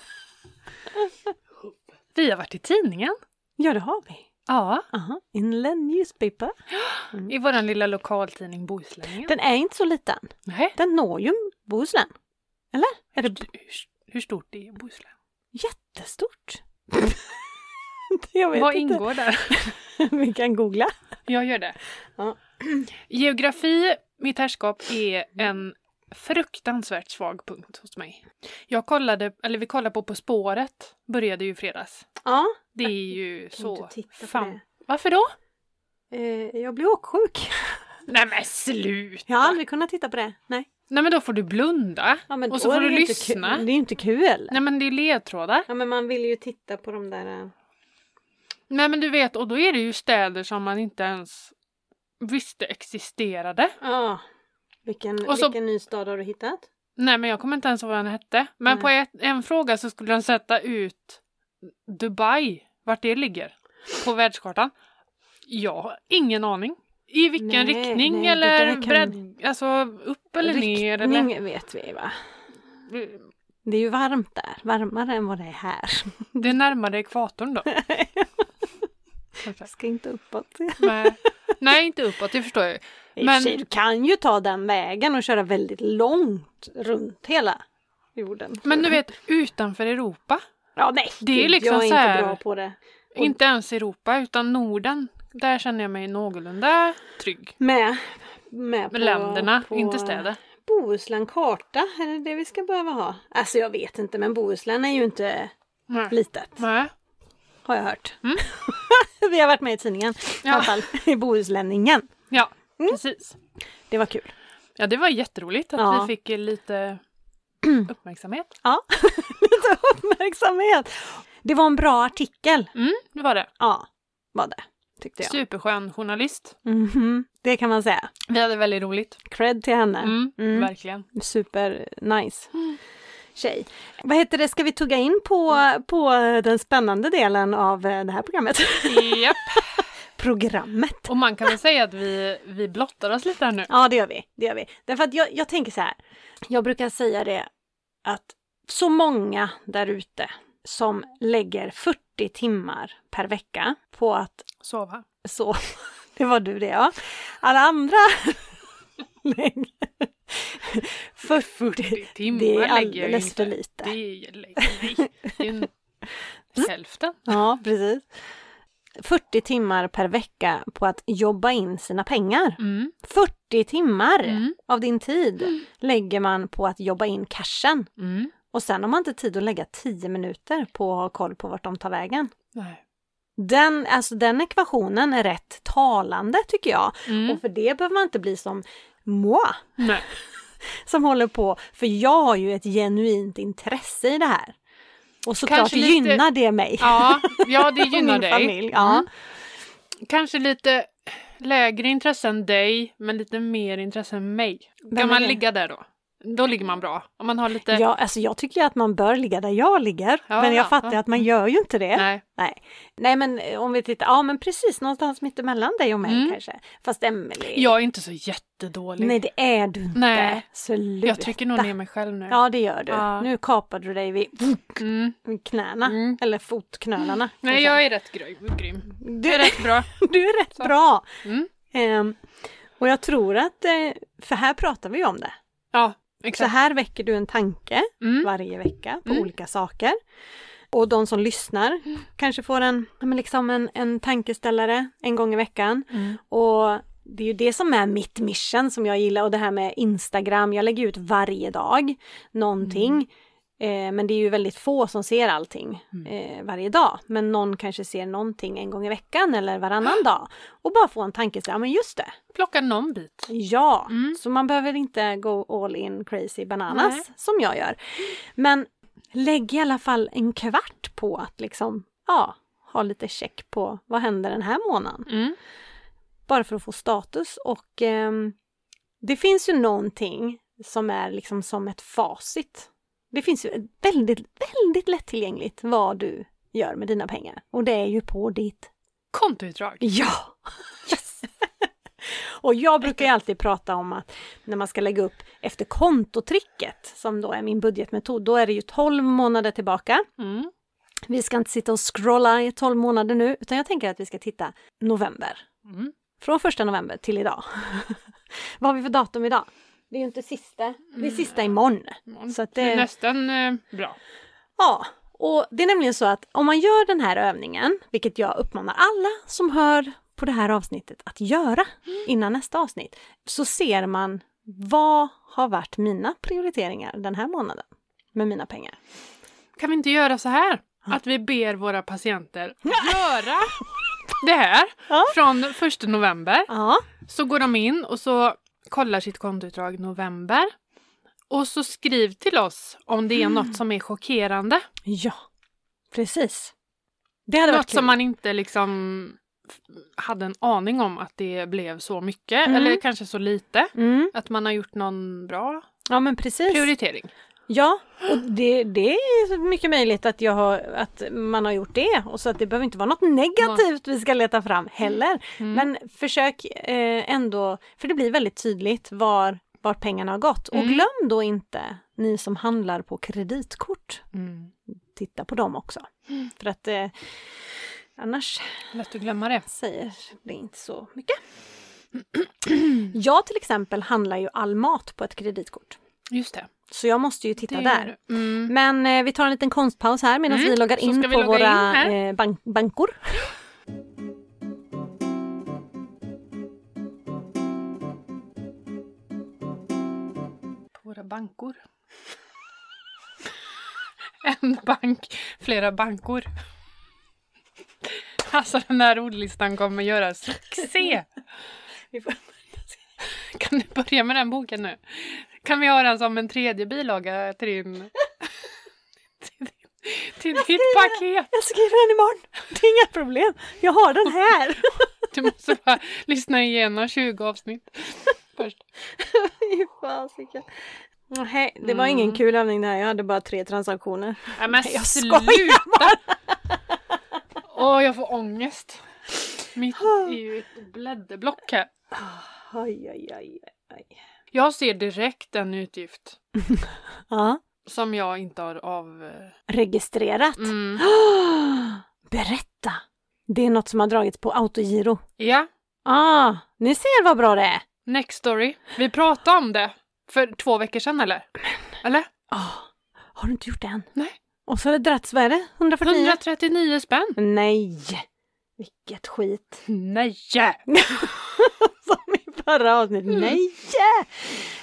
Speaker 1: Vi har varit i tidningen.
Speaker 2: Ja, det har vi.
Speaker 1: Ja,
Speaker 2: Aha. Inland newspaper.
Speaker 1: i vår lilla lokaltidning Bohuslänningen.
Speaker 2: Den är inte så liten.
Speaker 1: Nej,
Speaker 2: Den når ju Bohuslän. Eller? Är det
Speaker 1: hur, hur stort är Bohuslän?
Speaker 2: jättestort? <laughs> jag vet
Speaker 1: Vad
Speaker 2: inte.
Speaker 1: ingår där?
Speaker 2: <laughs> vi kan googla.
Speaker 1: Jag gör det.
Speaker 2: Ja.
Speaker 1: <clears throat> Geografi, mitt härskap, är en fruktansvärt svag punkt hos mig. Jag kollade, eller vi kollade på På spåret, började ju i fredags.
Speaker 2: Ja,
Speaker 1: Det är ju så...
Speaker 2: du tittar på
Speaker 1: Fan.
Speaker 2: det.
Speaker 1: Varför då?
Speaker 2: Eh, jag blir åksjuk.
Speaker 1: Nej men slut!
Speaker 2: Jag har aldrig kunnat titta på det. Nej.
Speaker 1: Nej men då får du blunda.
Speaker 2: Ja, men
Speaker 1: Och så
Speaker 2: då
Speaker 1: får
Speaker 2: är
Speaker 1: du
Speaker 2: det ju inte
Speaker 1: lyssna.
Speaker 2: Kul. Det är ju inte kul.
Speaker 1: Nej men det är ledtrådar.
Speaker 2: Ja, men man vill ju titta på de där... eh,
Speaker 1: Nej men du vet, och då är det ju städer som man inte ens visste existerade.
Speaker 2: Ja. Vilken,
Speaker 1: Och så-
Speaker 2: vilken ny stad har du hittat?
Speaker 1: Nej men jag kommer inte ens ihåg vad den hette. Men
Speaker 2: Nej.
Speaker 1: på ett, en fråga så skulle de sätta ut Dubai, vart det ligger på världskartan. Jag har ingen aning. I vilken
Speaker 2: Nej,
Speaker 1: riktning
Speaker 2: nej, det
Speaker 1: eller
Speaker 2: där kan-
Speaker 1: bredd, alltså upp eller ner eller...
Speaker 2: Riktning vet vi, va? Det är ju varmt där. Varmare än vad det är här.
Speaker 1: Det är närmare ekvatorn
Speaker 2: <laughs>
Speaker 1: då.
Speaker 2: Jag ska inte uppåt.
Speaker 1: Men, nej, inte uppåt, det förstår jag ju.
Speaker 2: I och
Speaker 1: Men-
Speaker 2: för sig, du kan ju ta den vägen och köra väldigt långt runt hela jorden.
Speaker 1: Men du vet, utanför Europa.
Speaker 2: Ja, nej,
Speaker 1: det är
Speaker 2: gud,
Speaker 1: liksom
Speaker 2: jag är
Speaker 1: så här-
Speaker 2: inte bra på det. Och-
Speaker 1: Inte ens Europa, utan Norden. Där känner jag mig någorlunda trygg.
Speaker 2: Med, med på,
Speaker 1: Med länderna,
Speaker 2: på
Speaker 1: inte städer.
Speaker 2: Bohuslän karta, är det det vi ska behöva ha? Alltså jag vet inte, men Bohuslän är ju inte
Speaker 1: Nej.
Speaker 2: litet,
Speaker 1: Nej.
Speaker 2: har jag hört.
Speaker 1: Mm.
Speaker 2: <laughs> vi har varit med i tidningen, i alla
Speaker 1: Ja.
Speaker 2: fall i Bohuslänningen.
Speaker 1: Ja,
Speaker 2: Mm.
Speaker 1: precis.
Speaker 2: Det var kul.
Speaker 1: Ja, det var jätteroligt att
Speaker 2: Ja.
Speaker 1: vi fick eh,
Speaker 2: <clears throat>
Speaker 1: lite uppmärksamhet.
Speaker 2: Ja, <laughs> lite uppmärksamhet. Det var en bra artikel.
Speaker 1: Mm, det var det.
Speaker 2: Ja, var det, tyckte jag.
Speaker 1: Superskön journalist.
Speaker 2: Mhm, Det kan man säga.
Speaker 1: Vi hade väldigt roligt.
Speaker 2: Cred till henne.
Speaker 1: Mm,
Speaker 2: Mm.
Speaker 1: Verkligen.
Speaker 2: Super nice tjej. Vad heter det, ska vi tugga in på, på den spännande delen av eh, det här programmet? <laughs>
Speaker 1: Japp.
Speaker 2: programmet!
Speaker 1: Och man kan väl säga att vi, vi blottar oss lite här nu.
Speaker 2: Ja, det gör vi. Det gör vi. Därför att jag, jag tänker så här, jag brukar säga det att så många där ute som lägger 40 timmar per vecka på att
Speaker 1: Sova.
Speaker 2: Så, <laughs> det var du det ja. Alla andra <laughs> lägger 40
Speaker 1: timmar
Speaker 2: Det är
Speaker 1: lägger jag ju
Speaker 2: alldeles för
Speaker 1: inte. Det
Speaker 2: lite.
Speaker 1: är,
Speaker 2: Mm.
Speaker 1: nej, det är en, hälften.
Speaker 2: Ja, precis. 40 timmar per vecka på att jobba in sina pengar.
Speaker 1: Mm.
Speaker 2: 40 timmar
Speaker 1: Mm.
Speaker 2: av din tid lägger man på att jobba in cashen.
Speaker 1: Mm.
Speaker 2: Och sen har man inte tid att lägga 10 minuter på att ha koll på vart de tar vägen.
Speaker 1: Nej.
Speaker 2: Den, alltså den ekvationen är rätt talande tycker jag.
Speaker 1: Mm.
Speaker 2: Och för det behöver man inte bli som moi.
Speaker 1: nej.
Speaker 2: som håller på, för jag har ju ett genuint intresse i det här. Och såklart
Speaker 1: Kanske lite-
Speaker 2: gynnar det mig.
Speaker 1: Ja, ja, det
Speaker 2: <laughs> och
Speaker 1: gynnar
Speaker 2: min
Speaker 1: dig.
Speaker 2: familj. Ja.
Speaker 1: Mm. Kanske lite lägre intresse än dig, men lite mer intresse än mig.
Speaker 2: Vem
Speaker 1: kan
Speaker 2: är
Speaker 1: man
Speaker 2: det?
Speaker 1: ligga där då? Då ligger man bra. Om man har lite...
Speaker 2: Ja, alltså jag tycker ju att man bör ligga där jag ligger,
Speaker 1: Ja,
Speaker 2: men jag
Speaker 1: ja,
Speaker 2: fattar
Speaker 1: ja.
Speaker 2: att man gör ju inte det. Nej.
Speaker 1: Nej.
Speaker 2: Nej. men eh, om vi tittar, ja men precis någonstans mittemellan dig och mig
Speaker 1: Mm.
Speaker 2: kanske. Fast Emelie,
Speaker 1: Jag är inte så jättedålig.
Speaker 2: nej det är du inte.
Speaker 1: Nej.
Speaker 2: Sluta.
Speaker 1: jag trycker nog ner mig själv nu.
Speaker 2: Ja det gör du.
Speaker 1: Ja.
Speaker 2: Nu kapar du dig vid
Speaker 1: Mm.
Speaker 2: knäna,
Speaker 1: Mm.
Speaker 2: eller fotknölarna.
Speaker 1: Nej,
Speaker 2: kanske.
Speaker 1: jag är rätt grym. grym.
Speaker 2: Du,
Speaker 1: Det är rätt bra.
Speaker 2: Du är rätt
Speaker 1: Så.
Speaker 2: bra!
Speaker 1: Mm.
Speaker 2: Ehm, och jag tror att, eh, för här pratar vi ju om det.
Speaker 1: Ja,
Speaker 2: Så
Speaker 1: exakt.
Speaker 2: här väcker du en tanke
Speaker 1: Mm.
Speaker 2: varje vecka på
Speaker 1: Mm.
Speaker 2: olika saker. Och de som lyssnar kanske får en, ja, men liksom en, en tankeställare en gång i veckan.
Speaker 1: Mm.
Speaker 2: Och det är ju det som är mitt mission som jag gillar och det här med Instagram. Jag lägger ut varje dag någonting. Eh, men det är ju väldigt få som ser allting
Speaker 1: Mm.
Speaker 2: eh, varje dag. Men någon kanske ser någonting en gång i veckan eller varannan dag. Och bara få en tankeställare, ja men just det,
Speaker 1: Plocka någon bit.
Speaker 2: ja.
Speaker 1: Mm.
Speaker 2: Så man behöver inte gå all in crazy bananas
Speaker 1: Nej.
Speaker 2: som jag gör. Men lägg i alla fall en kvart på att liksom, ja, ha lite check på vad händer den här månaden
Speaker 1: Mm.
Speaker 2: bara för att få status och ehm, Det finns ju någonting som är liksom som ett facit. Det finns ju väldigt, väldigt lättillgängligt vad du gör med dina pengar. Och det är ju på ditt
Speaker 1: Kontoutdrag.
Speaker 2: Ja! Yes! <laughs> och jag brukar ju alltid prata om att när man ska lägga upp efter kontotricket, som då är min budgetmetod, då är det ju 12 månader tillbaka.
Speaker 1: Mm.
Speaker 2: Vi ska inte sitta och scrolla i 12 månader nu, utan jag tänker att vi ska titta november.
Speaker 1: Mm.
Speaker 2: Från första november till idag. <laughs> Vad har vi för datum idag? Det är ju inte sista, det är
Speaker 1: Mm.
Speaker 2: sista imorgon. Så att
Speaker 1: Det är
Speaker 2: det,
Speaker 1: nästan eh, bra.
Speaker 2: ja, och det är nämligen så att om man gör den här övningen, vilket jag uppmanar alla som hör på det här avsnittet att göra innan nästa avsnitt, så ser man vad har varit mina prioriteringar den här månaden med mina pengar.
Speaker 1: Kan vi inte göra så här? Att vi ber våra patienter
Speaker 2: <laughs>
Speaker 1: göra det här
Speaker 2: Ja.
Speaker 1: från 1 november.
Speaker 2: Ja,
Speaker 1: Så går de in och så kollar sitt kontoutdrag november. Och så skriv till oss om det är
Speaker 2: Mm.
Speaker 1: något som är chockerande.
Speaker 2: ja, precis. Det hade varit
Speaker 1: Något
Speaker 2: kul.
Speaker 1: som man inte liksom f- hade en aning om att det blev så mycket.
Speaker 2: Mm.
Speaker 1: Eller kanske så lite.
Speaker 2: Mm,
Speaker 1: Att man har gjort någon bra
Speaker 2: ja, men precis.
Speaker 1: prioritering.
Speaker 2: Ja, och det, det är mycket möjligt att, jag har, att man har gjort det. Och så att det behöver inte vara något negativt vi ska leta fram heller.
Speaker 1: Mm.
Speaker 2: Men försök eh, ändå, för det blir väldigt tydligt var, var pengarna har gått. Och
Speaker 1: Mm.
Speaker 2: glöm då inte, ni som handlar på kreditkort,
Speaker 1: Mm.
Speaker 2: titta på dem också. För att eh, annars
Speaker 1: Lätt att glömma det.
Speaker 2: säger det inte så
Speaker 1: <clears throat>
Speaker 2: mycket. Jag till exempel handlar ju all mat på ett kreditkort.
Speaker 1: Just det.
Speaker 2: Så jag måste ju titta
Speaker 1: det
Speaker 2: där.
Speaker 1: gör du. Mm.
Speaker 2: Men eh, vi tar en liten konstpaus här medan
Speaker 1: Mm,
Speaker 2: vi loggar
Speaker 1: så
Speaker 2: in
Speaker 1: ska vi
Speaker 2: på
Speaker 1: logga in
Speaker 2: våra
Speaker 1: här.
Speaker 2: eh, bank- bankor.
Speaker 1: På våra bankor. <laughs> en bank, flera bankor. <laughs> Alltså den här ordlistan kommer göra succé! Kan du börja med den boken nu? Kan vi ha den som en tredje bilaga till din... <laughs> till, din- till ditt paket?
Speaker 2: <laughs> Jag skriver den imorgon. Det är inga problem. Jag har den här. <laughs>
Speaker 1: Du måste bara lyssna igenom 20 <laughs> avsnitt först.
Speaker 2: Fy fasiken. Nej, det var
Speaker 1: Mm.
Speaker 2: ingen kul övning där. Jag hade bara tre transaktioner.
Speaker 1: Nej men
Speaker 2: Nej, jag
Speaker 1: sluta!
Speaker 2: skojar
Speaker 1: Åh, jag får ångest. Mitt är ju ett blädderblock här.
Speaker 2: Aj, aj, aj, aj.
Speaker 1: Jag ser direkt en utgift
Speaker 2: Ja,
Speaker 1: som jag inte har av... eh,
Speaker 2: registrerat.
Speaker 1: Mm.
Speaker 2: <gasps> Berätta! Det är något som har dragits på autogiro.
Speaker 1: Ja,
Speaker 2: Ah, ni ser vad bra det är.
Speaker 1: next story. Vi pratade om det för två veckor sedan eller? Eller?
Speaker 2: Ah, har du inte gjort det än?
Speaker 1: Nej.
Speaker 2: Och så har det dragits, vad är det? 149?
Speaker 1: 139 spänn.
Speaker 2: Nej! Vilket skit. <laughs>
Speaker 1: Nej!
Speaker 2: Som i förra avsnittet.
Speaker 1: Mm.
Speaker 2: Nej!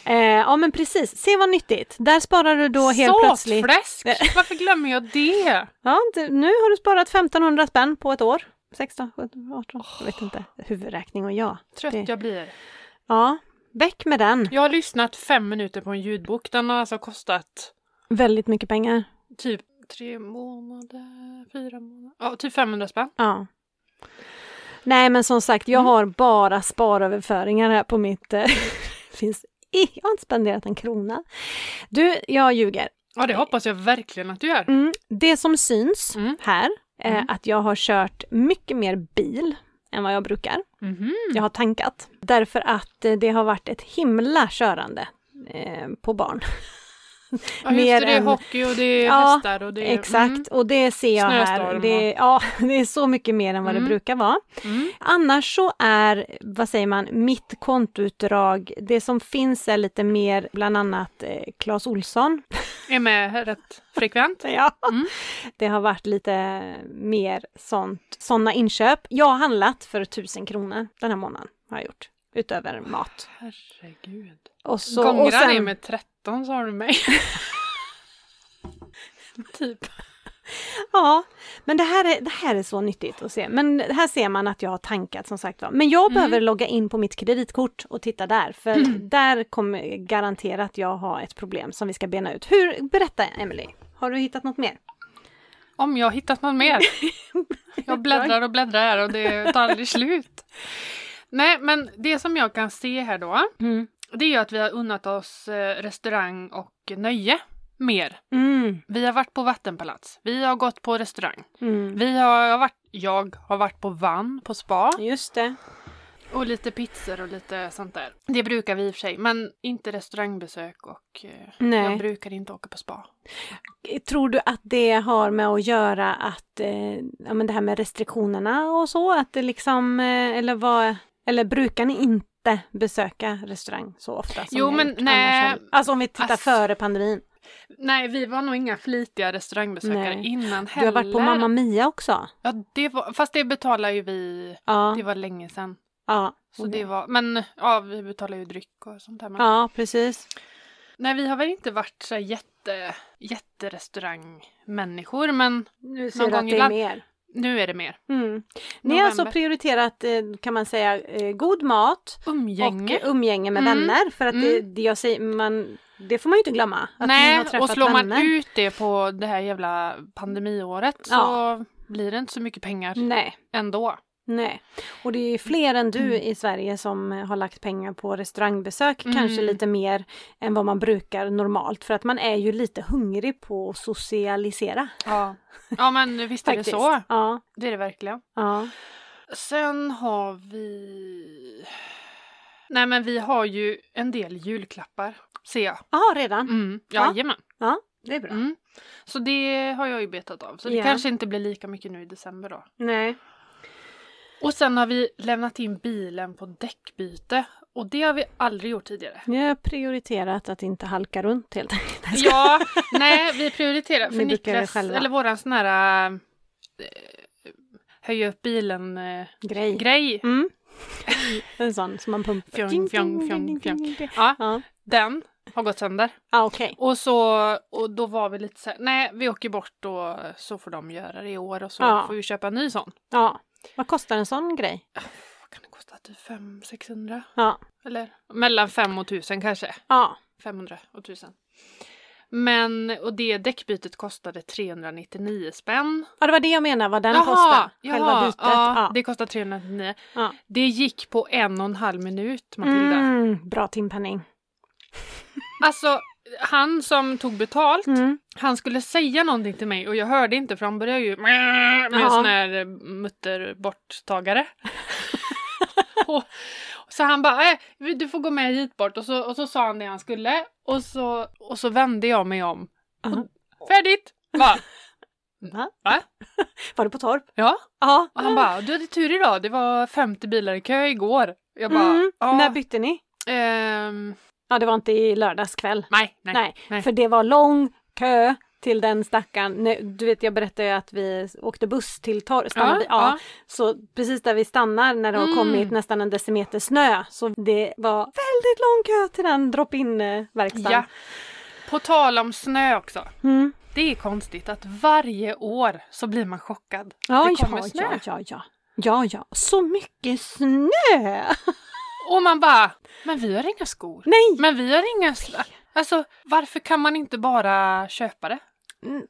Speaker 2: Eh, ja men precis, se vad nyttigt. Där sparar du då helt plötsligt.
Speaker 1: Såtfläsk! Varför glömmer jag det?
Speaker 2: Ja, du, nu har du sparat 1500 spänn på ett år. 16, 17, 18, jag vet inte. Huvudräkning och jag. Det-
Speaker 1: Trött jag blir.
Speaker 2: Ja, väck med den.
Speaker 1: Jag har lyssnat fem minuter på en ljudbok. Den har alltså kostat
Speaker 2: Väldigt mycket pengar.
Speaker 1: Typ tre månader, fyra månader. Ja, typ 500 spänn.
Speaker 2: Ja. Nej men som sagt, jag har bara sparöverföringar här på mitt... eh, <laughs> finns i, jag har inte spenderat en krona. Du, jag ljuger.
Speaker 1: Ja, det hoppas jag verkligen att du gör.
Speaker 2: Mm, det som syns
Speaker 1: Mm.
Speaker 2: här är
Speaker 1: Mm.
Speaker 2: att jag har kört mycket mer bil än vad jag brukar.
Speaker 1: Mhm.
Speaker 2: Jag har tankat. Därför att eh, det har varit ett himla körande eh, på barn.
Speaker 1: Ja, just
Speaker 2: Mer
Speaker 1: det, det är
Speaker 2: än-
Speaker 1: hockey och det är
Speaker 2: Ja,
Speaker 1: hästar och det är... mm.
Speaker 2: Exakt, och det ser jag här.
Speaker 1: Snöstorm
Speaker 2: Det, ja, <laughs> det är så mycket mer än vad
Speaker 1: Mm.
Speaker 2: det brukar vara.
Speaker 1: Mm. Mm.
Speaker 2: Annars så är, vad säger man, mitt kontoutdrag, det som finns är lite mer bland annat eh, Clas Olsson.
Speaker 1: Är med här rätt frekvent.
Speaker 2: <laughs> Ja.
Speaker 1: Mm.
Speaker 2: Det har varit lite mer sånt, sådana inköp. Jag har handlat för tusen kronor den här månaden, har jag gjort, utöver mat.
Speaker 1: Herregud.
Speaker 2: Och så,
Speaker 1: Gångrar
Speaker 2: och sen-
Speaker 1: är med 13 sa du <laughs> mig. typ.
Speaker 2: Ja, men det här, är, det här är så nyttigt att se. Men här ser man att jag har tankat som sagt var. Men jag
Speaker 1: Mm.
Speaker 2: behöver logga in på mitt kreditkort och titta där, för där kommer garanterat jag ha ett problem som vi ska bena ut. Hur, berätta Emily, har du hittat något mer?
Speaker 1: Om jag har hittat något <laughs> mer. Jag bläddrar och bläddrar här och det tar aldrig slut. Nej, men det som jag kan se här då. det är ju att vi har unnat oss eh, restaurang och nöje mer.
Speaker 2: Mm.
Speaker 1: Vi har varit på vattenpalats, vi har gått på restaurang,
Speaker 2: Mm.
Speaker 1: vi har, jag har varit, jag har varit på vann, på spa
Speaker 2: Just det.
Speaker 1: och lite pizzor och lite sånt där. Det brukar vi i och för sig, men inte restaurangbesök och eh,
Speaker 2: Nej.
Speaker 1: jag brukar inte åka på spa.
Speaker 2: Tror du att det har med att göra att, eh, ja men det här med restriktionerna och så, att det liksom, eh, eller vad, eller brukar ni inte besöka restaurang så ofta? Som
Speaker 1: Jo,
Speaker 2: ni har
Speaker 1: men
Speaker 2: gjort
Speaker 1: nej.
Speaker 2: annars? Alltså om vi tittar
Speaker 1: Ass-
Speaker 2: före pandemin.
Speaker 1: Nej, vi var nog inga flitiga restaurangbesökare
Speaker 2: Nej.
Speaker 1: innan
Speaker 2: Du
Speaker 1: heller.
Speaker 2: har varit på Mamma Mia också?
Speaker 1: Ja, det var, fast det betalar ju vi,
Speaker 2: Ja.
Speaker 1: det var länge sedan.
Speaker 2: ja.
Speaker 1: Så
Speaker 2: okej.
Speaker 1: det var, men ja, vi betalar ju dryck och sånt där. Men,
Speaker 2: Ja, precis.
Speaker 1: Nej, vi har väl inte varit så här jätte, jätterestaurangmänniskor, men
Speaker 2: Nu ser
Speaker 1: Någon
Speaker 2: du
Speaker 1: gång
Speaker 2: att det är
Speaker 1: ibland.
Speaker 2: mer.
Speaker 1: nu är det mer.
Speaker 2: Mm. Ni har alltså
Speaker 1: November.
Speaker 2: prioriterat, eh, kan man säga, eh, god mat
Speaker 1: Umgänge.
Speaker 2: och umgänge med
Speaker 1: Mm.
Speaker 2: vänner. För att det,
Speaker 1: Mm.
Speaker 2: det, jag säger, man, det får man ju inte glömma. Att ni har
Speaker 1: Nej,
Speaker 2: träffat
Speaker 1: och slår man
Speaker 2: vänner.
Speaker 1: ut det på det här jävla pandemiåret så
Speaker 2: Ja.
Speaker 1: blir det inte så mycket pengar
Speaker 2: Nej.
Speaker 1: ändå.
Speaker 2: Nej, och det är ju fler än du i Sverige som eh, har lagt pengar på restaurangbesök,
Speaker 1: Mm.
Speaker 2: kanske lite mer än vad man brukar normalt, för att man är ju lite hungrig på att socialisera.
Speaker 1: Ja, ja men visst är det
Speaker 2: Faktiskt.
Speaker 1: så.
Speaker 2: Ja,
Speaker 1: Det är det verkligen.
Speaker 2: ja.
Speaker 1: Sen har vi... Nej men vi har ju en del julklappar, ser jag.
Speaker 2: Aha, redan.
Speaker 1: Mm,
Speaker 2: Ja.
Speaker 1: jajamän.
Speaker 2: Ja, det är bra.
Speaker 1: Mm. Så det har jag ju betat av. Så det
Speaker 2: Ja.
Speaker 1: kanske inte blir lika mycket nu i december då.
Speaker 2: Nej.
Speaker 1: Och sen har vi lämnat in bilen på däckbyte. Och det har vi aldrig gjort tidigare.
Speaker 2: Ni har prioriterat att inte halka runt helt enkelt. Jag ska-
Speaker 1: Ja, nej vi prioriterar. För
Speaker 2: Ni brukar det
Speaker 1: Niklas,
Speaker 2: själva.
Speaker 1: eller våran sån här eh, höja upp äh, bilen-grej.
Speaker 2: Grej. Mm. En sån som man pumpar.
Speaker 1: Fjong,
Speaker 2: Ding,
Speaker 1: fjong,
Speaker 2: ding,
Speaker 1: fjong,
Speaker 2: ding, ding, ding, ding.
Speaker 1: Ja,
Speaker 2: Ja,
Speaker 1: den har gått sönder.
Speaker 2: ah, okej.
Speaker 1: Och, så, och då var vi lite så här, nej vi åker bort och så får de göra det i år och så
Speaker 2: Ja.
Speaker 1: får vi köpa en ny sån.
Speaker 2: Ja. Vad kostar en sån grej?
Speaker 1: Vad kan det kosta? Typ 500-600?
Speaker 2: Ja.
Speaker 1: Eller mellan 5 och 1000 kanske.
Speaker 2: Ja.
Speaker 1: 500 och 1000. Men, och det däckbytet kostade 399 spänn.
Speaker 2: ja, det var det jag menade, vad den kostar. Själva bytet.
Speaker 1: Ja,
Speaker 2: Ja.
Speaker 1: Det kostar 399.
Speaker 2: Ja.
Speaker 1: Det gick på en och en halv minut, Matilda.
Speaker 2: Mm, bra timpenning.
Speaker 1: Alltså, han som tog betalt,
Speaker 2: Mm.
Speaker 1: han skulle säga någonting till mig och jag hörde inte för han började ju med en
Speaker 2: Ja.
Speaker 1: sån här eh,
Speaker 2: <laughs>
Speaker 1: mutterborttagare. och, så han bara, "Eh, du får gå med hit bort och så, och så sa han det han skulle och så, och så vände jag mig om.
Speaker 2: Ja.
Speaker 1: Färdigt! Bara,
Speaker 2: Va?
Speaker 1: Va?
Speaker 2: Var du på torp?
Speaker 1: ja.
Speaker 2: Ja.
Speaker 1: Och han bara, du hade tur idag, det var 50 bilar i kö igår. Jag bara,
Speaker 2: Mm.
Speaker 1: ja.
Speaker 2: När bytte ni?
Speaker 1: ehm,
Speaker 2: Ja, det var inte i lördags kväll.
Speaker 1: nej, nej.
Speaker 2: Nej,
Speaker 1: nej.
Speaker 2: för det var lång kö till den stackaren. Nej, Du vet, jag berättade ju att vi åkte buss till torp. Ja, ja. Så precis där vi stannar när det har
Speaker 1: Mm.
Speaker 2: kommit nästan en decimeter snö. Så det var väldigt lång kö till den drop-in eh, verkstaden.
Speaker 1: Ja. På tal om snö också.
Speaker 2: Mm.
Speaker 1: Det är konstigt att varje år så blir man chockad.
Speaker 2: Ja,
Speaker 1: det kommer
Speaker 2: ja,
Speaker 1: snö.
Speaker 2: ja, ja, ja. Ja, ja. Så mycket snö!
Speaker 1: Och man bara, men vi har inga skor.
Speaker 2: Nej!
Speaker 1: Men vi har inga... sla-" Alltså varför kan man inte bara köpa det?
Speaker 2: Mm,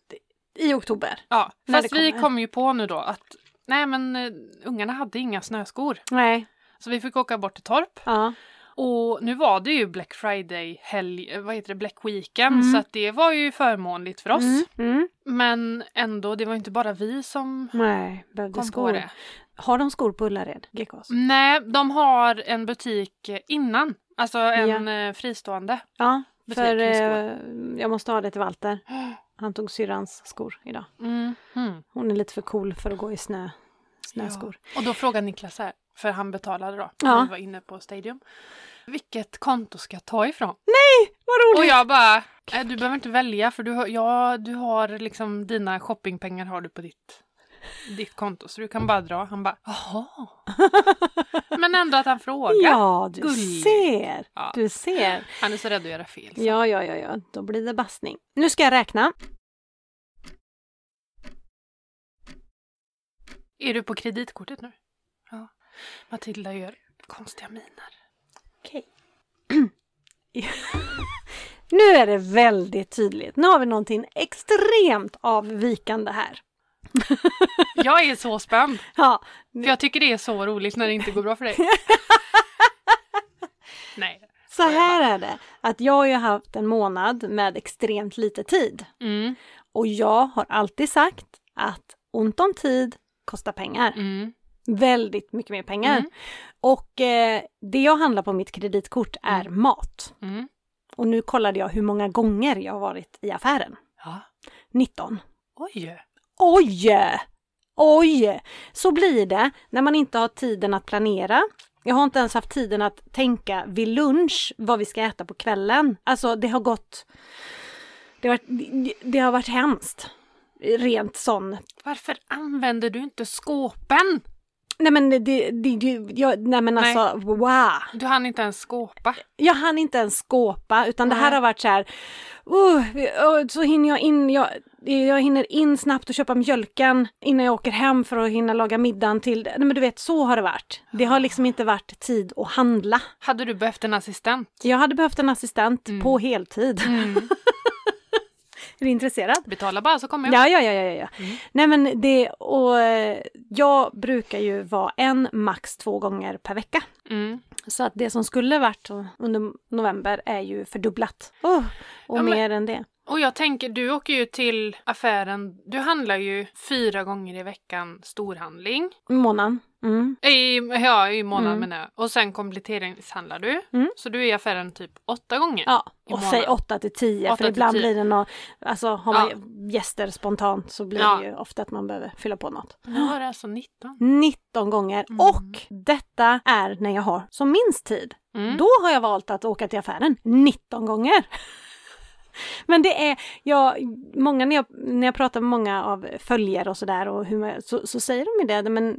Speaker 2: I oktober.
Speaker 1: Ja,
Speaker 2: När
Speaker 1: fast
Speaker 2: det
Speaker 1: vi
Speaker 2: kommer.
Speaker 1: kom ju på nu då att nej men eh, ungarna hade inga snöskor.
Speaker 2: Nej.
Speaker 1: Så vi fick åka bort till Torp.
Speaker 2: Ja.
Speaker 1: Och nu var det ju Black Friday helg, eh, vad heter det, Black Weekend.
Speaker 2: Mm.
Speaker 1: Så att det var ju förmånligt för oss.
Speaker 2: Mm. Mm.
Speaker 1: Men ändå, det var inte bara vi som
Speaker 2: Nej, behövde
Speaker 1: kom
Speaker 2: skor. Mm.
Speaker 1: på det.
Speaker 2: Har de skor på Ullared, GKs?
Speaker 1: Nej, de har en butik eh, innan. Alltså en eh, fristående.
Speaker 2: Ja,
Speaker 1: Butik
Speaker 2: för
Speaker 1: med
Speaker 2: eh, jag måste ha det
Speaker 1: <gasps>
Speaker 2: till Walter. Han tog syrrans skor idag.
Speaker 1: Mm. Mm.
Speaker 2: Hon är lite för cool för att gå i snö, snöskor.
Speaker 1: Ja. Och då frågade Niklas här, för han betalade då,
Speaker 2: Ja.
Speaker 1: när vi var inne på Stadium. Vilket konto ska jag ta ifrån?
Speaker 2: Vad
Speaker 1: Och
Speaker 2: roligt!
Speaker 1: jag bara, "Eh, du behöver inte välja för du har, ja, du har liksom dina shoppingpengar har du på ditt, ditt konto så du kan bara dra. Han bara, jaha.
Speaker 2: <laughs>
Speaker 1: Men ändå att han frågar.
Speaker 2: Ja, du
Speaker 1: Gulligt.
Speaker 2: ser!
Speaker 1: Ja.
Speaker 2: Du ser!
Speaker 1: Han är så rädd att göra fel. så.
Speaker 2: Ja, ja, ja, ja, då blir det bastning. Nu ska jag räkna.
Speaker 1: Är du på kreditkortet nu? Ja. Matilda gör konstiga miner.
Speaker 2: <laughs> Okej. <clears throat> nu är det väldigt tydligt. Nu har vi någonting extremt avvikande här.
Speaker 1: Jag är så spänd.
Speaker 2: Ja, <laughs>
Speaker 1: För jag tycker det är så roligt när det inte går bra för dig. Nej.
Speaker 2: Så här är det, att jag har ju haft en månad med extremt lite tid.
Speaker 1: Mm,
Speaker 2: Och jag har alltid sagt att ont om tid kostar pengar.
Speaker 1: mm,
Speaker 2: Väldigt mycket mer pengar.
Speaker 1: Mm.
Speaker 2: Och eh, det jag handlar på mitt kreditkort är mat.
Speaker 1: mm.
Speaker 2: Och nu kollade jag hur många gånger jag har varit i affären.
Speaker 1: Ja.
Speaker 2: 19.
Speaker 1: Oj!
Speaker 2: Oj! Oj! Så blir det när man inte har tiden att planera. Jag har inte ens haft tiden att tänka vid lunch vad vi ska äta på kvällen. Alltså det har gått... Det har varit, det har varit hemskt. Rent sån...
Speaker 1: Varför använder du inte skåpen?
Speaker 2: Nej men det... det, det jag, nej men
Speaker 1: Nej.
Speaker 2: alltså, wow!
Speaker 1: Du hann inte ens skåpa.
Speaker 2: Jag hann inte ens skåpa utan det här
Speaker 1: Nej.
Speaker 2: har varit så här... "Oh, vi- oh, så hinner jag in... Jag, jag hinner in snabbt och köpa mjölken innan jag åker hem för att hinna laga middagen till... Nej men du vet, så har det varit. Det har liksom inte varit tid att handla.
Speaker 1: Hade du behövt en assistent?
Speaker 2: Jag hade behövt en assistent på heltid. <laughs> är du intresserad?
Speaker 1: Betala bara så kommer jag.
Speaker 2: Ja, ja, ja, ja, ja. Nej men det... Och eh, jag brukar ju vara en, max två gånger per vecka.
Speaker 1: Mm.
Speaker 2: Så att det som skulle varit under november är ju fördubblat. och
Speaker 1: Oh. Ja, men-
Speaker 2: mer än det.
Speaker 1: Och jag tänker, du åker ju till affären. Du handlar ju fyra gånger i veckan storhandling.
Speaker 2: Månaden. Mm.
Speaker 1: I, ja, i månaden
Speaker 2: Mm.
Speaker 1: menar jag. Och sen kompletteringshandlar du.
Speaker 2: Mm.
Speaker 1: Så du är i affären typ åtta gånger.
Speaker 2: Ja,
Speaker 1: I
Speaker 2: och
Speaker 1: månaden.
Speaker 2: säg 8 till 10
Speaker 1: Åtta
Speaker 2: för
Speaker 1: till
Speaker 2: ibland
Speaker 1: tio.
Speaker 2: blir det något, alltså har man gäster spontant så blir
Speaker 1: Ja.
Speaker 2: det ju ofta att man behöver fylla på något.
Speaker 1: Nu har du alltså 19.
Speaker 2: 19 gånger
Speaker 1: Mm.
Speaker 2: och detta är när jag har som minst tid.
Speaker 1: Mm.
Speaker 2: Då har jag valt att åka till affären 19 gånger. <laughs> Men det är, jag, många när jag, när jag pratar med många av följare och sådär och hur man, så, så säger de ju det, men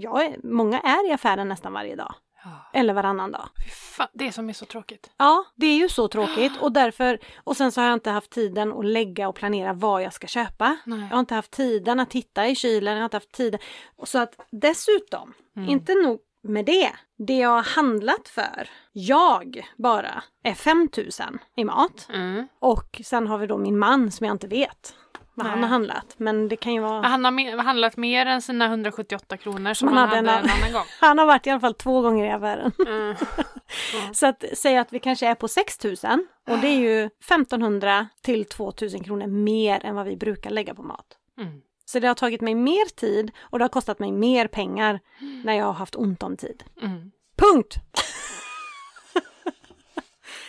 Speaker 2: jag är, många är i affären nästan varje dag.
Speaker 1: Ja.
Speaker 2: Eller varannan dag.
Speaker 1: Fy fan, det som är så tråkigt.
Speaker 2: Ja, det är ju så tråkigt och därför, och sen så har jag inte haft tiden att lägga och planera vad jag ska köpa.
Speaker 1: Nej.
Speaker 2: Jag har inte haft tiden att titta i kylen, jag har inte haft tiden. Och Så att dessutom,
Speaker 1: Mm.
Speaker 2: inte nog med det, det jag har handlat för, jag bara, är 5000 i mat.
Speaker 1: Mm.
Speaker 2: Och sen har vi då min man som jag inte vet vad han
Speaker 1: Nej.
Speaker 2: har handlat, men det kan ju vara...
Speaker 1: Han har me- handlat mer än sina 178 kronor som
Speaker 2: Man
Speaker 1: han
Speaker 2: hade
Speaker 1: hade
Speaker 2: en
Speaker 1: en,
Speaker 2: annan-
Speaker 1: annan gång.
Speaker 2: Han har varit i alla fall två gånger i affären. <laughs>
Speaker 1: Mm.
Speaker 2: Så att säga att vi kanske är på 6 000 och det är ju 1500 till 2000 kronor mer än vad vi brukar lägga på mat.
Speaker 1: Mm.
Speaker 2: Så det har tagit mig mer tid och det har kostat mig mer pengar när jag har haft ont om tid.
Speaker 1: Mm.
Speaker 2: Punkt! <laughs>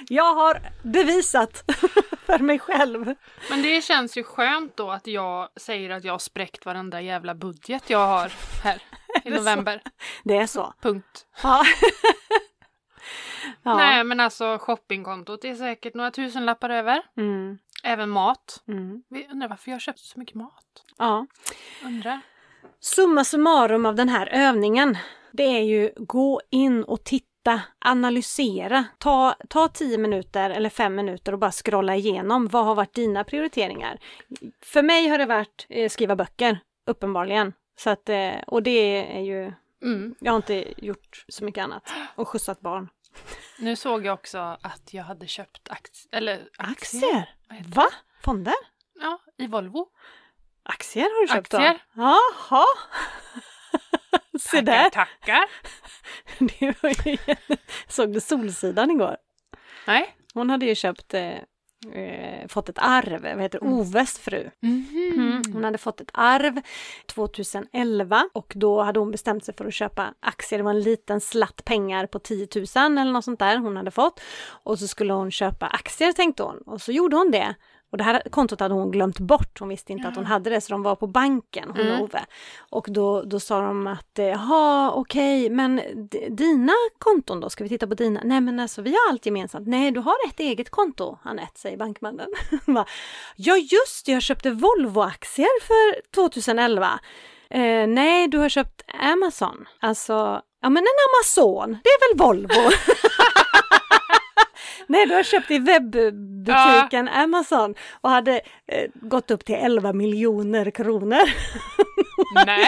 Speaker 2: jag har bevisat <laughs> för mig själv.
Speaker 1: Men det känns ju skönt då att jag säger att jag har spräckt varenda jävla budget jag har
Speaker 2: <laughs>
Speaker 1: här i
Speaker 2: det så?
Speaker 1: november.
Speaker 2: Det är så.
Speaker 1: Punkt.
Speaker 2: Ja. <laughs> ja.
Speaker 1: Nej men alltså shoppingkontot är säkert några tusenlappar över.
Speaker 2: Mm,
Speaker 1: Även mat.
Speaker 2: mm,
Speaker 1: Vi undrar varför jag köpte så mycket mat.
Speaker 2: ja.
Speaker 1: Undrar.
Speaker 2: Summa summarum av den här övningen, det är ju gå in och titta, analysera, ta, ta 10 minuter eller 5 minuter och bara scrolla igenom. Vad har varit dina prioriteringar? För mig har det varit eh, skriva böcker, uppenbarligen. Så att, eh, och det är ju,
Speaker 1: Mm.
Speaker 2: jag har inte gjort så mycket annat. Och skjutsat barn.
Speaker 1: Nu såg jag också att jag hade köpt aktier, eller Vad heter det?
Speaker 2: Va? Fonder?
Speaker 1: Ja, i Volvo.
Speaker 2: Aktier har du köpt
Speaker 1: Aktier.
Speaker 2: då? Jaha! <laughs> Se där!
Speaker 1: tackar.
Speaker 2: Det var ju... Såg du Solsidan igår?
Speaker 1: Nej.
Speaker 2: Hon hade ju köpt, eh, eh, fått ett arv, vad heter det? Oves fru.
Speaker 1: Mhm.
Speaker 2: Hon hade fått ett arv 2011 och då hade hon bestämt sig för att köpa aktier. Det var en liten slatt pengar på 10 000 eller något sånt där hon hade fått. Och så skulle hon köpa aktier tänkte hon och så gjorde hon det. Och det här kontot hade hon glömt bort, hon visste inte att hon hade det, så de var på banken, hon och Ove. Och då, då sa de att, eh, jaha okej, men d- dina konton då, ska vi titta på dina? Nej men alltså vi har allt gemensamt. Nej, du har ett eget konto, Anette, säger bankmannen. <laughs> Bara, ja just det, jag köpte Volvo-aktier för 2011. Eh, nej, du har köpt Amazon. Alltså, ja men en Amazon, det är väl Volvo? <laughs> Nej, du har köpt i webbutiken Amazon och hade eh, gått upp till 11 miljoner kronor. <laughs>
Speaker 1: Nej,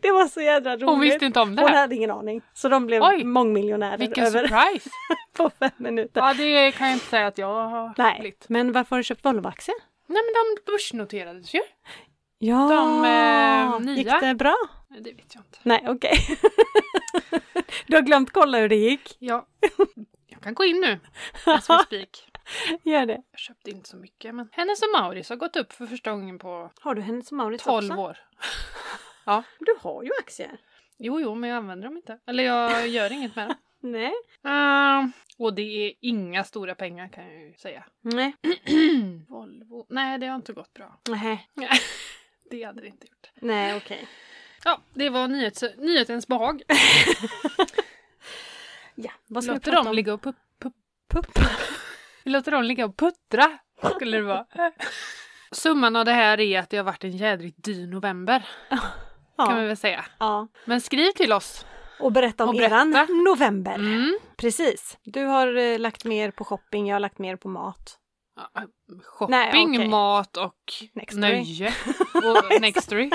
Speaker 2: det var så jädra roligt.
Speaker 1: hon visste inte om det
Speaker 2: Hon
Speaker 1: här.
Speaker 2: hade ingen aning. Så de blev
Speaker 1: Oj,
Speaker 2: mångmiljonärer
Speaker 1: Vilken
Speaker 2: över
Speaker 1: surprise!
Speaker 2: <laughs> på fem minuter.
Speaker 1: Ja, det kan jag inte säga att jag har
Speaker 2: Nej,
Speaker 1: blivit.
Speaker 2: men varför har du köpt Volvo-aktier?
Speaker 1: Nej, men de börsnoterades ju.
Speaker 2: Ja,
Speaker 1: De, eh, nya.
Speaker 2: gick det bra?
Speaker 1: Nej, Det
Speaker 2: <laughs>
Speaker 1: vet jag inte.
Speaker 2: Nej, okej. du har glömt kolla hur det gick.
Speaker 1: Ja. <laughs> Jag kan gå in nu. As we speak.
Speaker 2: Gör det.
Speaker 1: Jag köpte inte så mycket men Hennes och Mauritz har gått upp för första gången på
Speaker 2: Har du Hennes & Mauritz
Speaker 1: 12
Speaker 2: också?
Speaker 1: år.
Speaker 2: Du har ju aktier.
Speaker 1: Jo, jo, men jag använder dem inte. Eller <laughs> jag gör inget med dem.
Speaker 2: Nej.
Speaker 1: Ehm, och det är inga stora pengar kan jag ju säga.
Speaker 2: Nej.
Speaker 1: Volvo. Nej, det har inte gått bra.
Speaker 2: Nej,
Speaker 1: Det hade det inte gjort.
Speaker 2: Nej okej.
Speaker 1: Ja, det var nyhets nyhetens behag.
Speaker 2: Ja, vad
Speaker 1: Låter dem ligga och pup, pup, Vi låter dem ligga och puttra, skulle det vara. <laughs> Summan av det här är att det har varit en jädrigt dyr november, kan vi
Speaker 2: Ja.
Speaker 1: väl säga.
Speaker 2: ja.
Speaker 1: Men skriv till oss.
Speaker 2: Och berätta om
Speaker 1: Och berätta.
Speaker 2: eran november.
Speaker 1: Mm.
Speaker 2: Precis. Du har eh, lagt mer på shopping, jag har lagt mer på mat.
Speaker 1: Ja, Shopping,
Speaker 2: Nej, okej.
Speaker 1: mat och
Speaker 2: Nextory. <laughs>
Speaker 1: nöje. Och Nextory.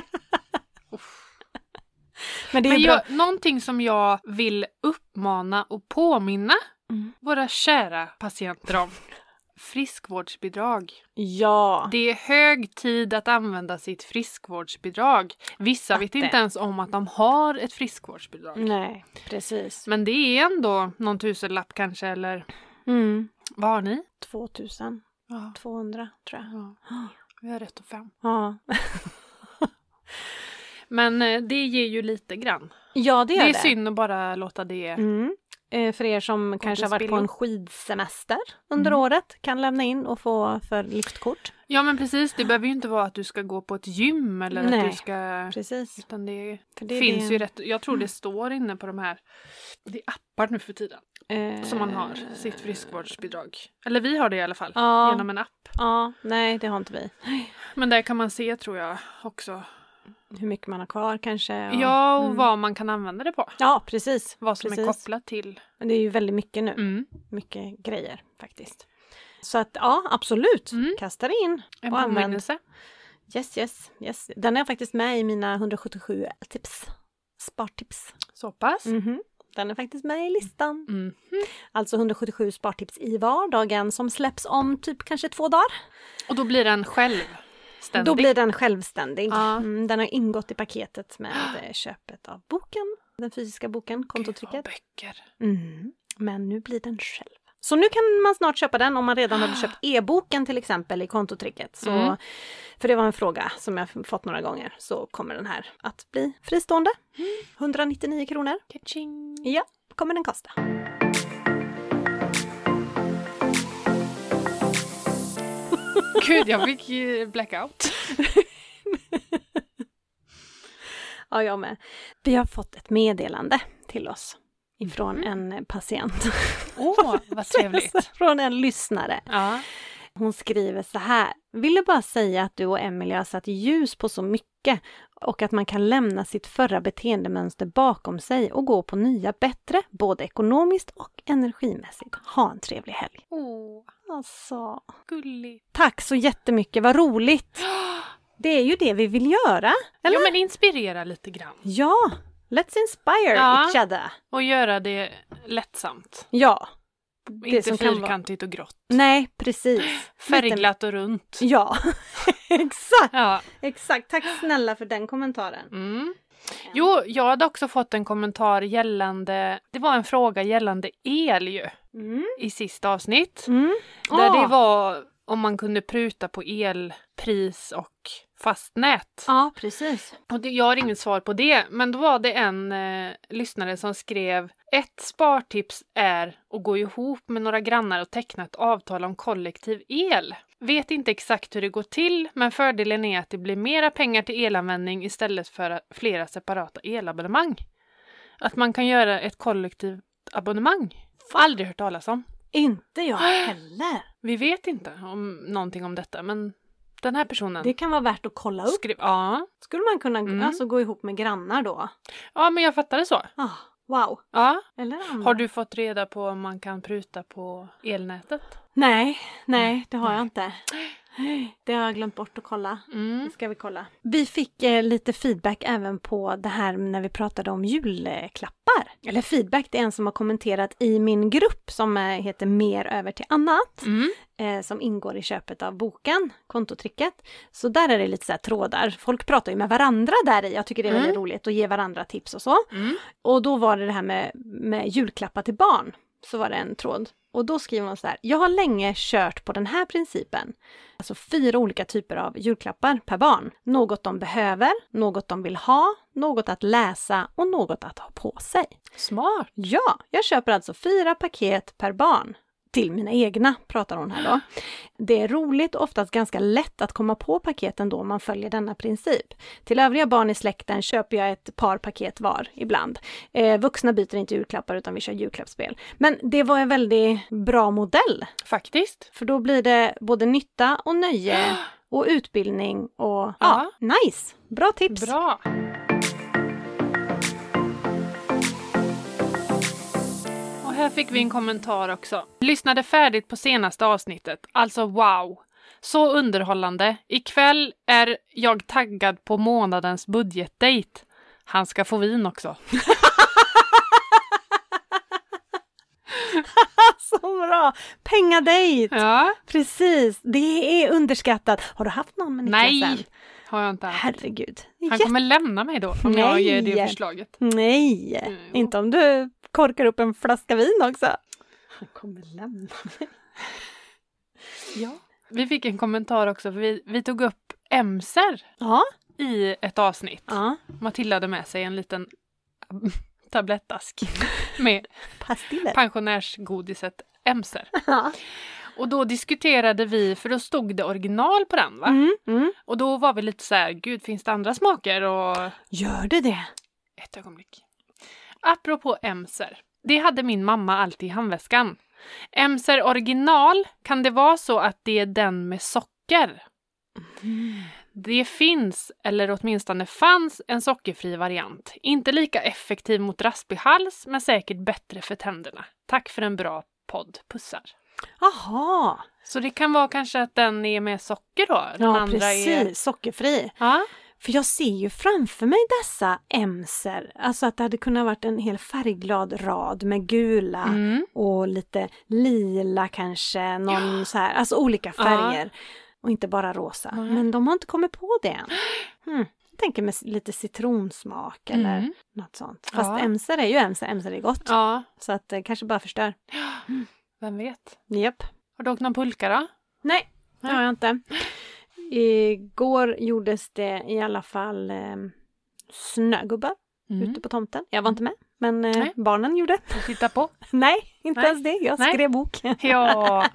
Speaker 2: Men det är
Speaker 1: Men
Speaker 2: ju bra.
Speaker 1: jag, någonting som jag vill uppmana och påminna
Speaker 2: Mm.
Speaker 1: våra kära patienter om. Friskvårdsbidrag.
Speaker 2: Ja.
Speaker 1: Det är hög tid att använda sitt friskvårdsbidrag. Vissa vet
Speaker 2: Vatten.
Speaker 1: inte ens om att de har ett friskvårdsbidrag.
Speaker 2: Nej, precis.
Speaker 1: Men det är ändå någon tusenlapp kanske, eller
Speaker 2: Mm.
Speaker 1: vad har ni?
Speaker 2: 2200
Speaker 1: Ja,
Speaker 2: tror jag.
Speaker 1: vi har rätt och fem.
Speaker 2: Ja,
Speaker 1: Men eh, det ger ju lite grann.
Speaker 2: <laughs> ja det
Speaker 1: Det
Speaker 2: gör
Speaker 1: är,
Speaker 2: det.
Speaker 1: synd att bara låta det...
Speaker 2: Mm. Eh, för er som kanske har varit på
Speaker 1: spillo.
Speaker 2: en skidsemester under
Speaker 1: Mm.
Speaker 2: året kan lämna in och få för liftkort.
Speaker 1: Ja men precis, det behöver ju inte vara att du ska gå på ett gym eller att
Speaker 2: Nej.
Speaker 1: du ska...
Speaker 2: Precis.
Speaker 1: Utan det,
Speaker 2: För det är
Speaker 1: finns
Speaker 2: det- Mm.
Speaker 1: ju rätt... Jag tror det står inne på de här... Det är appar nu för tiden
Speaker 2: eh,
Speaker 1: som man har sitt friskvårdsbidrag. Eller vi har det i alla fall.
Speaker 2: Ja.
Speaker 1: Genom en app.
Speaker 2: Ja, nej det har inte vi.
Speaker 1: Men där kan man se tror jag också.
Speaker 2: Hur mycket man har kvar kanske.
Speaker 1: Ja,
Speaker 2: och-
Speaker 1: och
Speaker 2: Mm.
Speaker 1: vad man kan använda det på.
Speaker 2: Ja, precis.
Speaker 1: Vad som är
Speaker 2: Precis.
Speaker 1: kopplat till.
Speaker 2: Men Det är ju väldigt mycket nu.
Speaker 1: Mm.
Speaker 2: Mycket grejer faktiskt. Så att ja, absolut.
Speaker 1: Mm.
Speaker 2: Kasta det in.
Speaker 1: En
Speaker 2: Och använd-
Speaker 1: påminnelse.
Speaker 2: Yes, yes, yes. Den är faktiskt med i mina 177 tips. Spartips.
Speaker 1: Så pass.
Speaker 2: Mhm. Den är faktiskt med i listan.
Speaker 1: Mm.
Speaker 2: Alltså 177 spartips i vardagen som släpps om typ kanske två dagar.
Speaker 1: Och då blir den själv ständig.
Speaker 2: Då blir den självständig.
Speaker 1: Ja.
Speaker 2: Mm, den har ingått i paketet med eh, köpet av boken, den fysiska boken, kontotrycket.
Speaker 1: böcker.
Speaker 2: Mm. Men nu blir den själv. Så nu kan man snart köpa den om man redan hade
Speaker 1: <gasps>
Speaker 2: köpt e-boken till exempel i kontotricket. Så,
Speaker 1: Mm.
Speaker 2: För det var en fråga som jag fått några gånger. Så kommer den här att bli fristående.
Speaker 1: Mm.
Speaker 2: 199 kronor
Speaker 1: Kaching.
Speaker 2: ja, kommer den kosta.
Speaker 1: Gud, jag fick ju blackout.
Speaker 2: Ja, jag med. Vi har fått ett meddelande till oss ifrån en patient.
Speaker 1: <laughs> Åh, vad Mm. trevligt.
Speaker 2: <laughs> Från en lyssnare.
Speaker 1: Ja.
Speaker 2: Hon skriver så här. Ville bara säga att du och Emelie har satt ljus på så mycket och att man kan lämna sitt förra beteendemönster bakom sig och gå på nya bättre, både ekonomiskt och energimässigt. Ha en trevlig helg.
Speaker 1: Åh,
Speaker 2: Alltså. <gasps>
Speaker 1: gulligt.
Speaker 2: Tack så jättemycket, vad roligt! Det är ju det vi vill göra. Eller?
Speaker 1: Ja, men inspirera lite grann.
Speaker 2: Ja, let's inspire
Speaker 1: Ja.
Speaker 2: each other.
Speaker 1: Och göra det lättsamt.
Speaker 2: Ja,
Speaker 1: inte
Speaker 2: som kan vara-
Speaker 1: fyrkantigt och grått.
Speaker 2: nej precis.
Speaker 1: Färgglatt och runt.
Speaker 2: Ja, <laughs> exakt,
Speaker 1: Ja.
Speaker 2: exakt. Tack snälla för den kommentaren.
Speaker 1: Mm. Jo, jag hade också fått en kommentar gällande... Det var en fråga gällande el ju,
Speaker 2: Mm.
Speaker 1: i sista avsnitt.
Speaker 2: Mm.
Speaker 1: Där
Speaker 2: Ah.
Speaker 1: det var om man kunde pruta på elpris och fastnät.
Speaker 2: Ja, precis.
Speaker 1: Och det, jag har inget svar på det, men då var det en eh, lyssnare som skrev ett spartips är att gå ihop med några grannar och teckna ett avtal om kollektiv el. Vet inte exakt hur det går till, men fördelen är att det blir mera pengar till elanvändning istället för att- flera separata elabonnemang. Att man kan göra ett kollektivt abonnemang. Aldrig hört talas om. <gasps>
Speaker 2: Inte jag
Speaker 1: Ah!
Speaker 2: heller.
Speaker 1: Vi vet inte om någonting om detta, men den här personen
Speaker 2: Det kan vara värt att kolla upp.
Speaker 1: skrev... Ja.
Speaker 2: Skulle man kunna
Speaker 1: Mm.
Speaker 2: alltså, gå ihop med grannar då?
Speaker 1: ja, men jag fattar det så.
Speaker 2: Ah, wow.
Speaker 1: Ja.
Speaker 2: Eller andra.
Speaker 1: Har du fått reda på om man kan pruta på elnätet?
Speaker 2: Nej,
Speaker 1: Mm.
Speaker 2: nej, det har
Speaker 1: <gasps>
Speaker 2: jag inte. Det har jag glömt bort att kolla. Det
Speaker 1: Mm.
Speaker 2: ska vi kolla. Vi fick eh, lite feedback även på det här när vi pratade om julklappar. Eller feedback, det är en som har kommenterat i min grupp som eh, heter Mer över till annat.
Speaker 1: Mm.
Speaker 2: eh, som ingår i köpet av boken, kontotricket. Så där är det lite så här trådar. Folk pratar ju med varandra där i. Jag tycker det är väldigt roligt att ge varandra tips och så.
Speaker 1: Mm.
Speaker 2: Och då var det det här med, med julklappar till barn. så var det en tråd. Och då skriver hon så här, jag har länge kört på den här principen. Alltså fyra olika typer av julklappar per barn. Något de behöver, något de vill ha, något att läsa och något att ha på sig.
Speaker 1: Smart!
Speaker 2: Ja, jag köper alltså fyra paket per barn. Till mina egna, pratar hon här då. Det är roligt och oftast ganska lätt att komma på paketen då om man följer denna princip. Till övriga barn i släkten köper jag ett par paket var ibland. Eh, vuxna byter inte julklappar utan vi kör julklappsspel. Men det var en väldigt bra modell,
Speaker 1: Faktiskt.
Speaker 2: för då blir det både nytta
Speaker 1: <gasps>
Speaker 2: och nöje och utbildning och ja, nice! Bra tips!
Speaker 1: Bra! Och här fick vi en kommentar också. Lyssnade färdigt på senaste avsnittet. Alltså wow! Så underhållande. Ikväll är jag taggad på månadens budgetdejt. Han ska få vin också.
Speaker 2: <laughs> Så bra! Pengadejt!
Speaker 1: Ja.
Speaker 2: Precis, det är underskattat. Har du haft någon med Niklas än?
Speaker 1: Nej, har jag inte haft.
Speaker 2: Herregud.
Speaker 1: Han
Speaker 2: Jä-
Speaker 1: kommer lämna mig då om jag
Speaker 2: Nej.
Speaker 1: ger det förslaget.
Speaker 2: Nej,
Speaker 1: Mm.
Speaker 2: inte om du korkar upp en flaska vin också. Han kommer lämna.
Speaker 1: Ja. Vi fick en kommentar också, för vi, vi tog upp emser
Speaker 2: Ja,
Speaker 1: i ett avsnitt.
Speaker 2: ja.
Speaker 1: Matilda hade med sig en liten <laughs> tablettask med
Speaker 2: pastiller.
Speaker 1: pensionärsgodiset Emser.
Speaker 2: Ja.
Speaker 1: Och då diskuterade vi, för då stod det original på den va?
Speaker 2: Mm, mm.
Speaker 1: Och då var vi lite så här, gud finns det andra smaker? Och
Speaker 2: Gör du det?
Speaker 1: ett ögonblick. Apropå Emser. Det hade min mamma alltid i handväskan. Emser original, kan det vara så att det är den med socker?
Speaker 2: Mm.
Speaker 1: Det finns, eller åtminstone fanns, en sockerfri variant. Inte lika effektiv mot raspig hals, men säkert bättre för tänderna. Tack för en bra podd. Pussar.
Speaker 2: Jaha,
Speaker 1: Så det kan vara kanske att den är med socker då? Den
Speaker 2: ja
Speaker 1: andra
Speaker 2: precis,
Speaker 1: Är...
Speaker 2: sockerfri.
Speaker 1: Ja,
Speaker 2: För jag ser ju framför mig dessa emser, alltså att det hade kunnat varit en hel färgglad rad med gula
Speaker 1: mm.
Speaker 2: och lite lila kanske, någon så här, alltså olika färger. Och inte bara rosa.
Speaker 1: Nej.
Speaker 2: Men de har inte kommit på det än. Hmm. Jag tänker med s- lite citronsmak eller
Speaker 1: Mm.
Speaker 2: något sånt. Fast
Speaker 1: Ja.
Speaker 2: emser är ju emser, emser är gott.
Speaker 1: ja
Speaker 2: Så att det kanske bara förstör.
Speaker 1: vem vet.
Speaker 2: Japp.
Speaker 1: Har du åkt någon pulka då?
Speaker 2: Nej, det har jag inte. Igår gjordes det i alla fall eh, snögubbar ute på tomten. Jag var inte med, men eh,
Speaker 1: Mm. Nej.
Speaker 2: barnen gjorde. <laughs>
Speaker 1: Och titta på.
Speaker 2: Nej, inte
Speaker 1: Nej.
Speaker 2: ens det. Jag
Speaker 1: Nej. <laughs>
Speaker 2: skrev bok.
Speaker 1: Ja.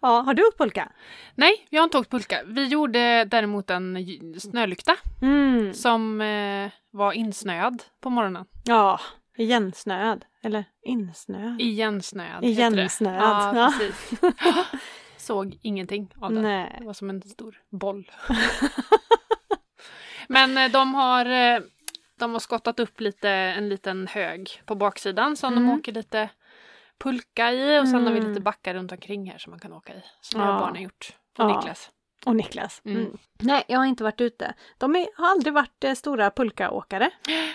Speaker 2: ja, har du åkt pulka?
Speaker 1: Nej, jag har inte åkt pulka. Vi gjorde däremot en j- snölykta
Speaker 2: Mm.
Speaker 1: som eh, var insnöad på morgonen.
Speaker 2: Ja, igensnöad. Eller insnöad.
Speaker 1: Igensnöad heter det.
Speaker 2: Igensnöad.
Speaker 1: Ja,
Speaker 2: Ja. <laughs>
Speaker 1: precis. Såg ingenting av den. Det
Speaker 2: Nej.
Speaker 1: var som en stor boll. <laughs> Men eh, de har, eh, de har skottat upp lite, en liten hög på baksidan som de
Speaker 2: Mm.
Speaker 1: åker lite pulka i och sen har vi
Speaker 2: Mm.
Speaker 1: lite backar runt omkring här som man kan åka i. Som
Speaker 2: Ja.
Speaker 1: jag och barnen gjort. Och
Speaker 2: Ja.
Speaker 1: Niklas.
Speaker 2: Och Niklas.
Speaker 1: Mm.
Speaker 2: Mm. Nej, jag har inte varit ute. De är, har aldrig varit eh, stora
Speaker 1: <gasps>
Speaker 2: pulkaåkare,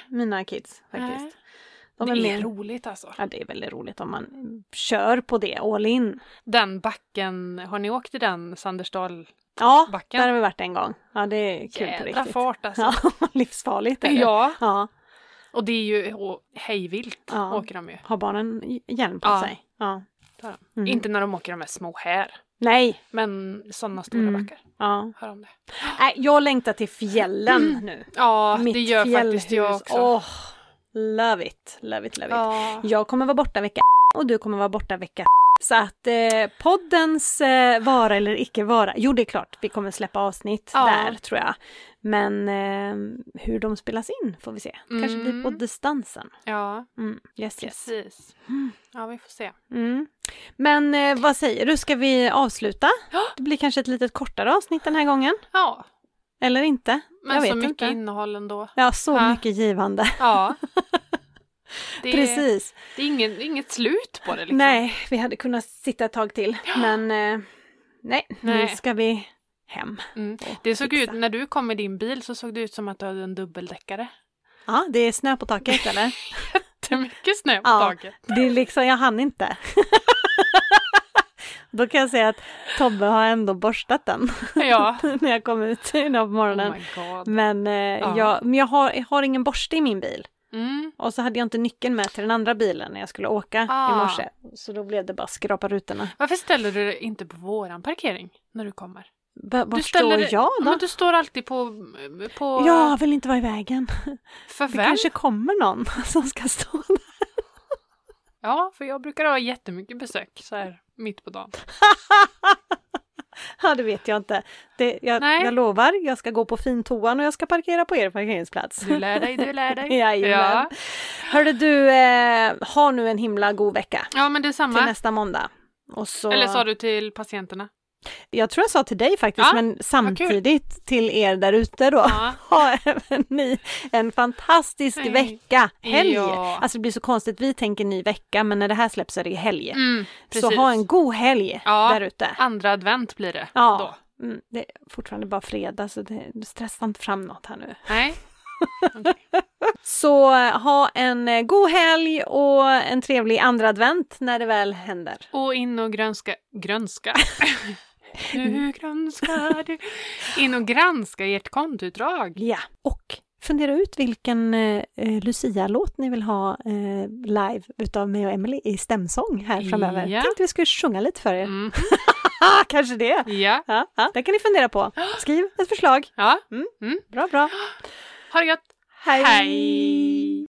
Speaker 2: mina kids faktiskt.
Speaker 1: Nej.
Speaker 2: De
Speaker 1: det är
Speaker 2: mer-
Speaker 1: roligt alltså.
Speaker 2: Ja, det är väldigt roligt om man kör på det all in.
Speaker 1: Den backen, har ni åkt i den Sandersdalbacken?
Speaker 2: Ja, där har vi varit en gång. Ja, det är kul på
Speaker 1: Jädra
Speaker 2: riktigt.
Speaker 1: fart alltså.
Speaker 2: Ja, <laughs> livsfarligt är det.
Speaker 1: Ja,
Speaker 2: ja.
Speaker 1: och det är ju och hejvilt
Speaker 2: Ja.
Speaker 1: åker de ju.
Speaker 2: Har barnen hj- hjälm på
Speaker 1: Ja.
Speaker 2: sig? Ja.
Speaker 1: Det har
Speaker 2: Mm.
Speaker 1: Inte när de åker de här små här,
Speaker 2: Nej.
Speaker 1: men sådana stora
Speaker 2: Mm.
Speaker 1: backar.
Speaker 2: Ja.
Speaker 1: Hör om det.
Speaker 2: Nej, jag längtar till fjällen
Speaker 1: <clears throat>
Speaker 2: nu.
Speaker 1: Ja,
Speaker 2: Mitt
Speaker 1: det gör
Speaker 2: fjällhus.
Speaker 1: faktiskt jag också.
Speaker 2: Åh, love it, love it, love it.
Speaker 1: ja.
Speaker 2: Jag kommer vara borta vecka och du kommer vara borta vecka så att eh, poddens eh, vara eller icke vara, jo det är klart vi kommer släppa avsnitt
Speaker 1: Ja.
Speaker 2: där tror jag. Men eh, hur de spelas in får vi se. Kanske blir på
Speaker 1: Mm.
Speaker 2: distansen.
Speaker 1: ja,
Speaker 2: Mm. Yes, yes.
Speaker 1: precis. Ja, vi får se.
Speaker 2: Mm. Men eh, vad säger du, ska vi avsluta?
Speaker 1: Ja.
Speaker 2: Det blir kanske ett litet kortare avsnitt den här gången.
Speaker 1: Ja,
Speaker 2: Eller inte. Jag
Speaker 1: men
Speaker 2: vet
Speaker 1: så mycket
Speaker 2: inte.
Speaker 1: innehåll ändå.
Speaker 2: <laughs> Ja, så
Speaker 1: Ja.
Speaker 2: mycket givande.
Speaker 1: Ja. Det, är,
Speaker 2: <laughs> Precis.
Speaker 1: det är ingen, det är inget slut på det liksom.
Speaker 2: Nej, vi hade kunnat sitta ett tag till. Men eh, nej, nu
Speaker 1: Nej.
Speaker 2: ska vi hem.
Speaker 1: Mm.
Speaker 2: och
Speaker 1: Det såg
Speaker 2: fixa.
Speaker 1: ut, när du kom i din bil så såg det ut som att du hade en dubbeldäckare. <laughs>
Speaker 2: Ja, det är snö på taket eller?
Speaker 1: Det är mycket snö på
Speaker 2: Ja.
Speaker 1: taket. <laughs>
Speaker 2: Det är liksom, jag hann inte. <laughs> Då kan jag säga att Tobbe har ändå borstat den <laughs>
Speaker 1: Ja.
Speaker 2: när jag kom ut idag på morgonen.
Speaker 1: Oh my god.
Speaker 2: men, eh,
Speaker 1: Ja.
Speaker 2: jag, men jag, har, jag har ingen borste i min bil.
Speaker 1: Mm.
Speaker 2: Och så hade jag inte nyckeln med till den andra bilen när jag skulle åka
Speaker 1: Ah.
Speaker 2: i morse. Så då blev det bara skrapa rutorna.
Speaker 1: Varför ställer du dig inte på våran parkering när du kommer?
Speaker 2: B- Vart
Speaker 1: Du
Speaker 2: står
Speaker 1: ställer dig-
Speaker 2: jag
Speaker 1: Ja,
Speaker 2: då?
Speaker 1: men du står alltid på... på
Speaker 2: Jag vill inte vara i vägen.
Speaker 1: För
Speaker 2: Det
Speaker 1: vem?
Speaker 2: kanske kommer någon <laughs> som ska stå där.
Speaker 1: Ja, för jag brukar ha jättemycket besök så här mitt på dagen.
Speaker 2: Ja, det vet jag inte. Det, jag,
Speaker 1: Nej.
Speaker 2: jag lovar, jag ska gå på fintoan och jag ska parkera på er parkeringsplats.
Speaker 1: Du lär dig, du lär dig.
Speaker 2: <laughs> Jajamän.
Speaker 1: ja.
Speaker 2: Hörru du, eh, ha nu en himla god vecka
Speaker 1: ja, men
Speaker 2: till
Speaker 1: detsamma.
Speaker 2: nästa måndag. Och så,
Speaker 1: Eller sa du till patienterna?
Speaker 2: Jag tror jag sa till dig faktiskt,
Speaker 1: Ja,
Speaker 2: men samtidigt till er där ute då.
Speaker 1: Ja.
Speaker 2: Ha även ni en fantastisk
Speaker 1: Hej.
Speaker 2: vecka, helg!
Speaker 1: Ja.
Speaker 2: Alltså det blir så konstigt, vi tänker ny vecka, men när det här släpps så är det helg.
Speaker 1: Mm,
Speaker 2: så
Speaker 1: precis.
Speaker 2: ha en god helg
Speaker 1: Ja.
Speaker 2: där ute.
Speaker 1: Andra advent blir det
Speaker 2: Ja.
Speaker 1: då.
Speaker 2: Mm, det är fortfarande bara fredag, så det, stressa inte fram något här nu.
Speaker 1: Nej,
Speaker 2: Så eh, ha en eh, god helg och en trevlig andra advent när det väl händer.
Speaker 1: Och in och grönska... Grönska? nu grönskar du. In och granska ert
Speaker 2: <laughs>
Speaker 1: kontoutdrag.
Speaker 2: Ja, och fundera ut vilken eh, eh, Lucia-låt ni vill ha eh, live utav mig och Emily i stämsång här framöver.
Speaker 1: Ja.
Speaker 2: Tänkte vi skulle sjunga lite för er. <laughs>
Speaker 1: Mm.
Speaker 2: Ah, kanske det!
Speaker 1: Ja.
Speaker 2: Ja, ja, det kan ni
Speaker 1: <gasps>
Speaker 2: fundera på. Skriv ett förslag.
Speaker 1: ja,
Speaker 2: Bra, bra.
Speaker 1: ha det gött. Hej.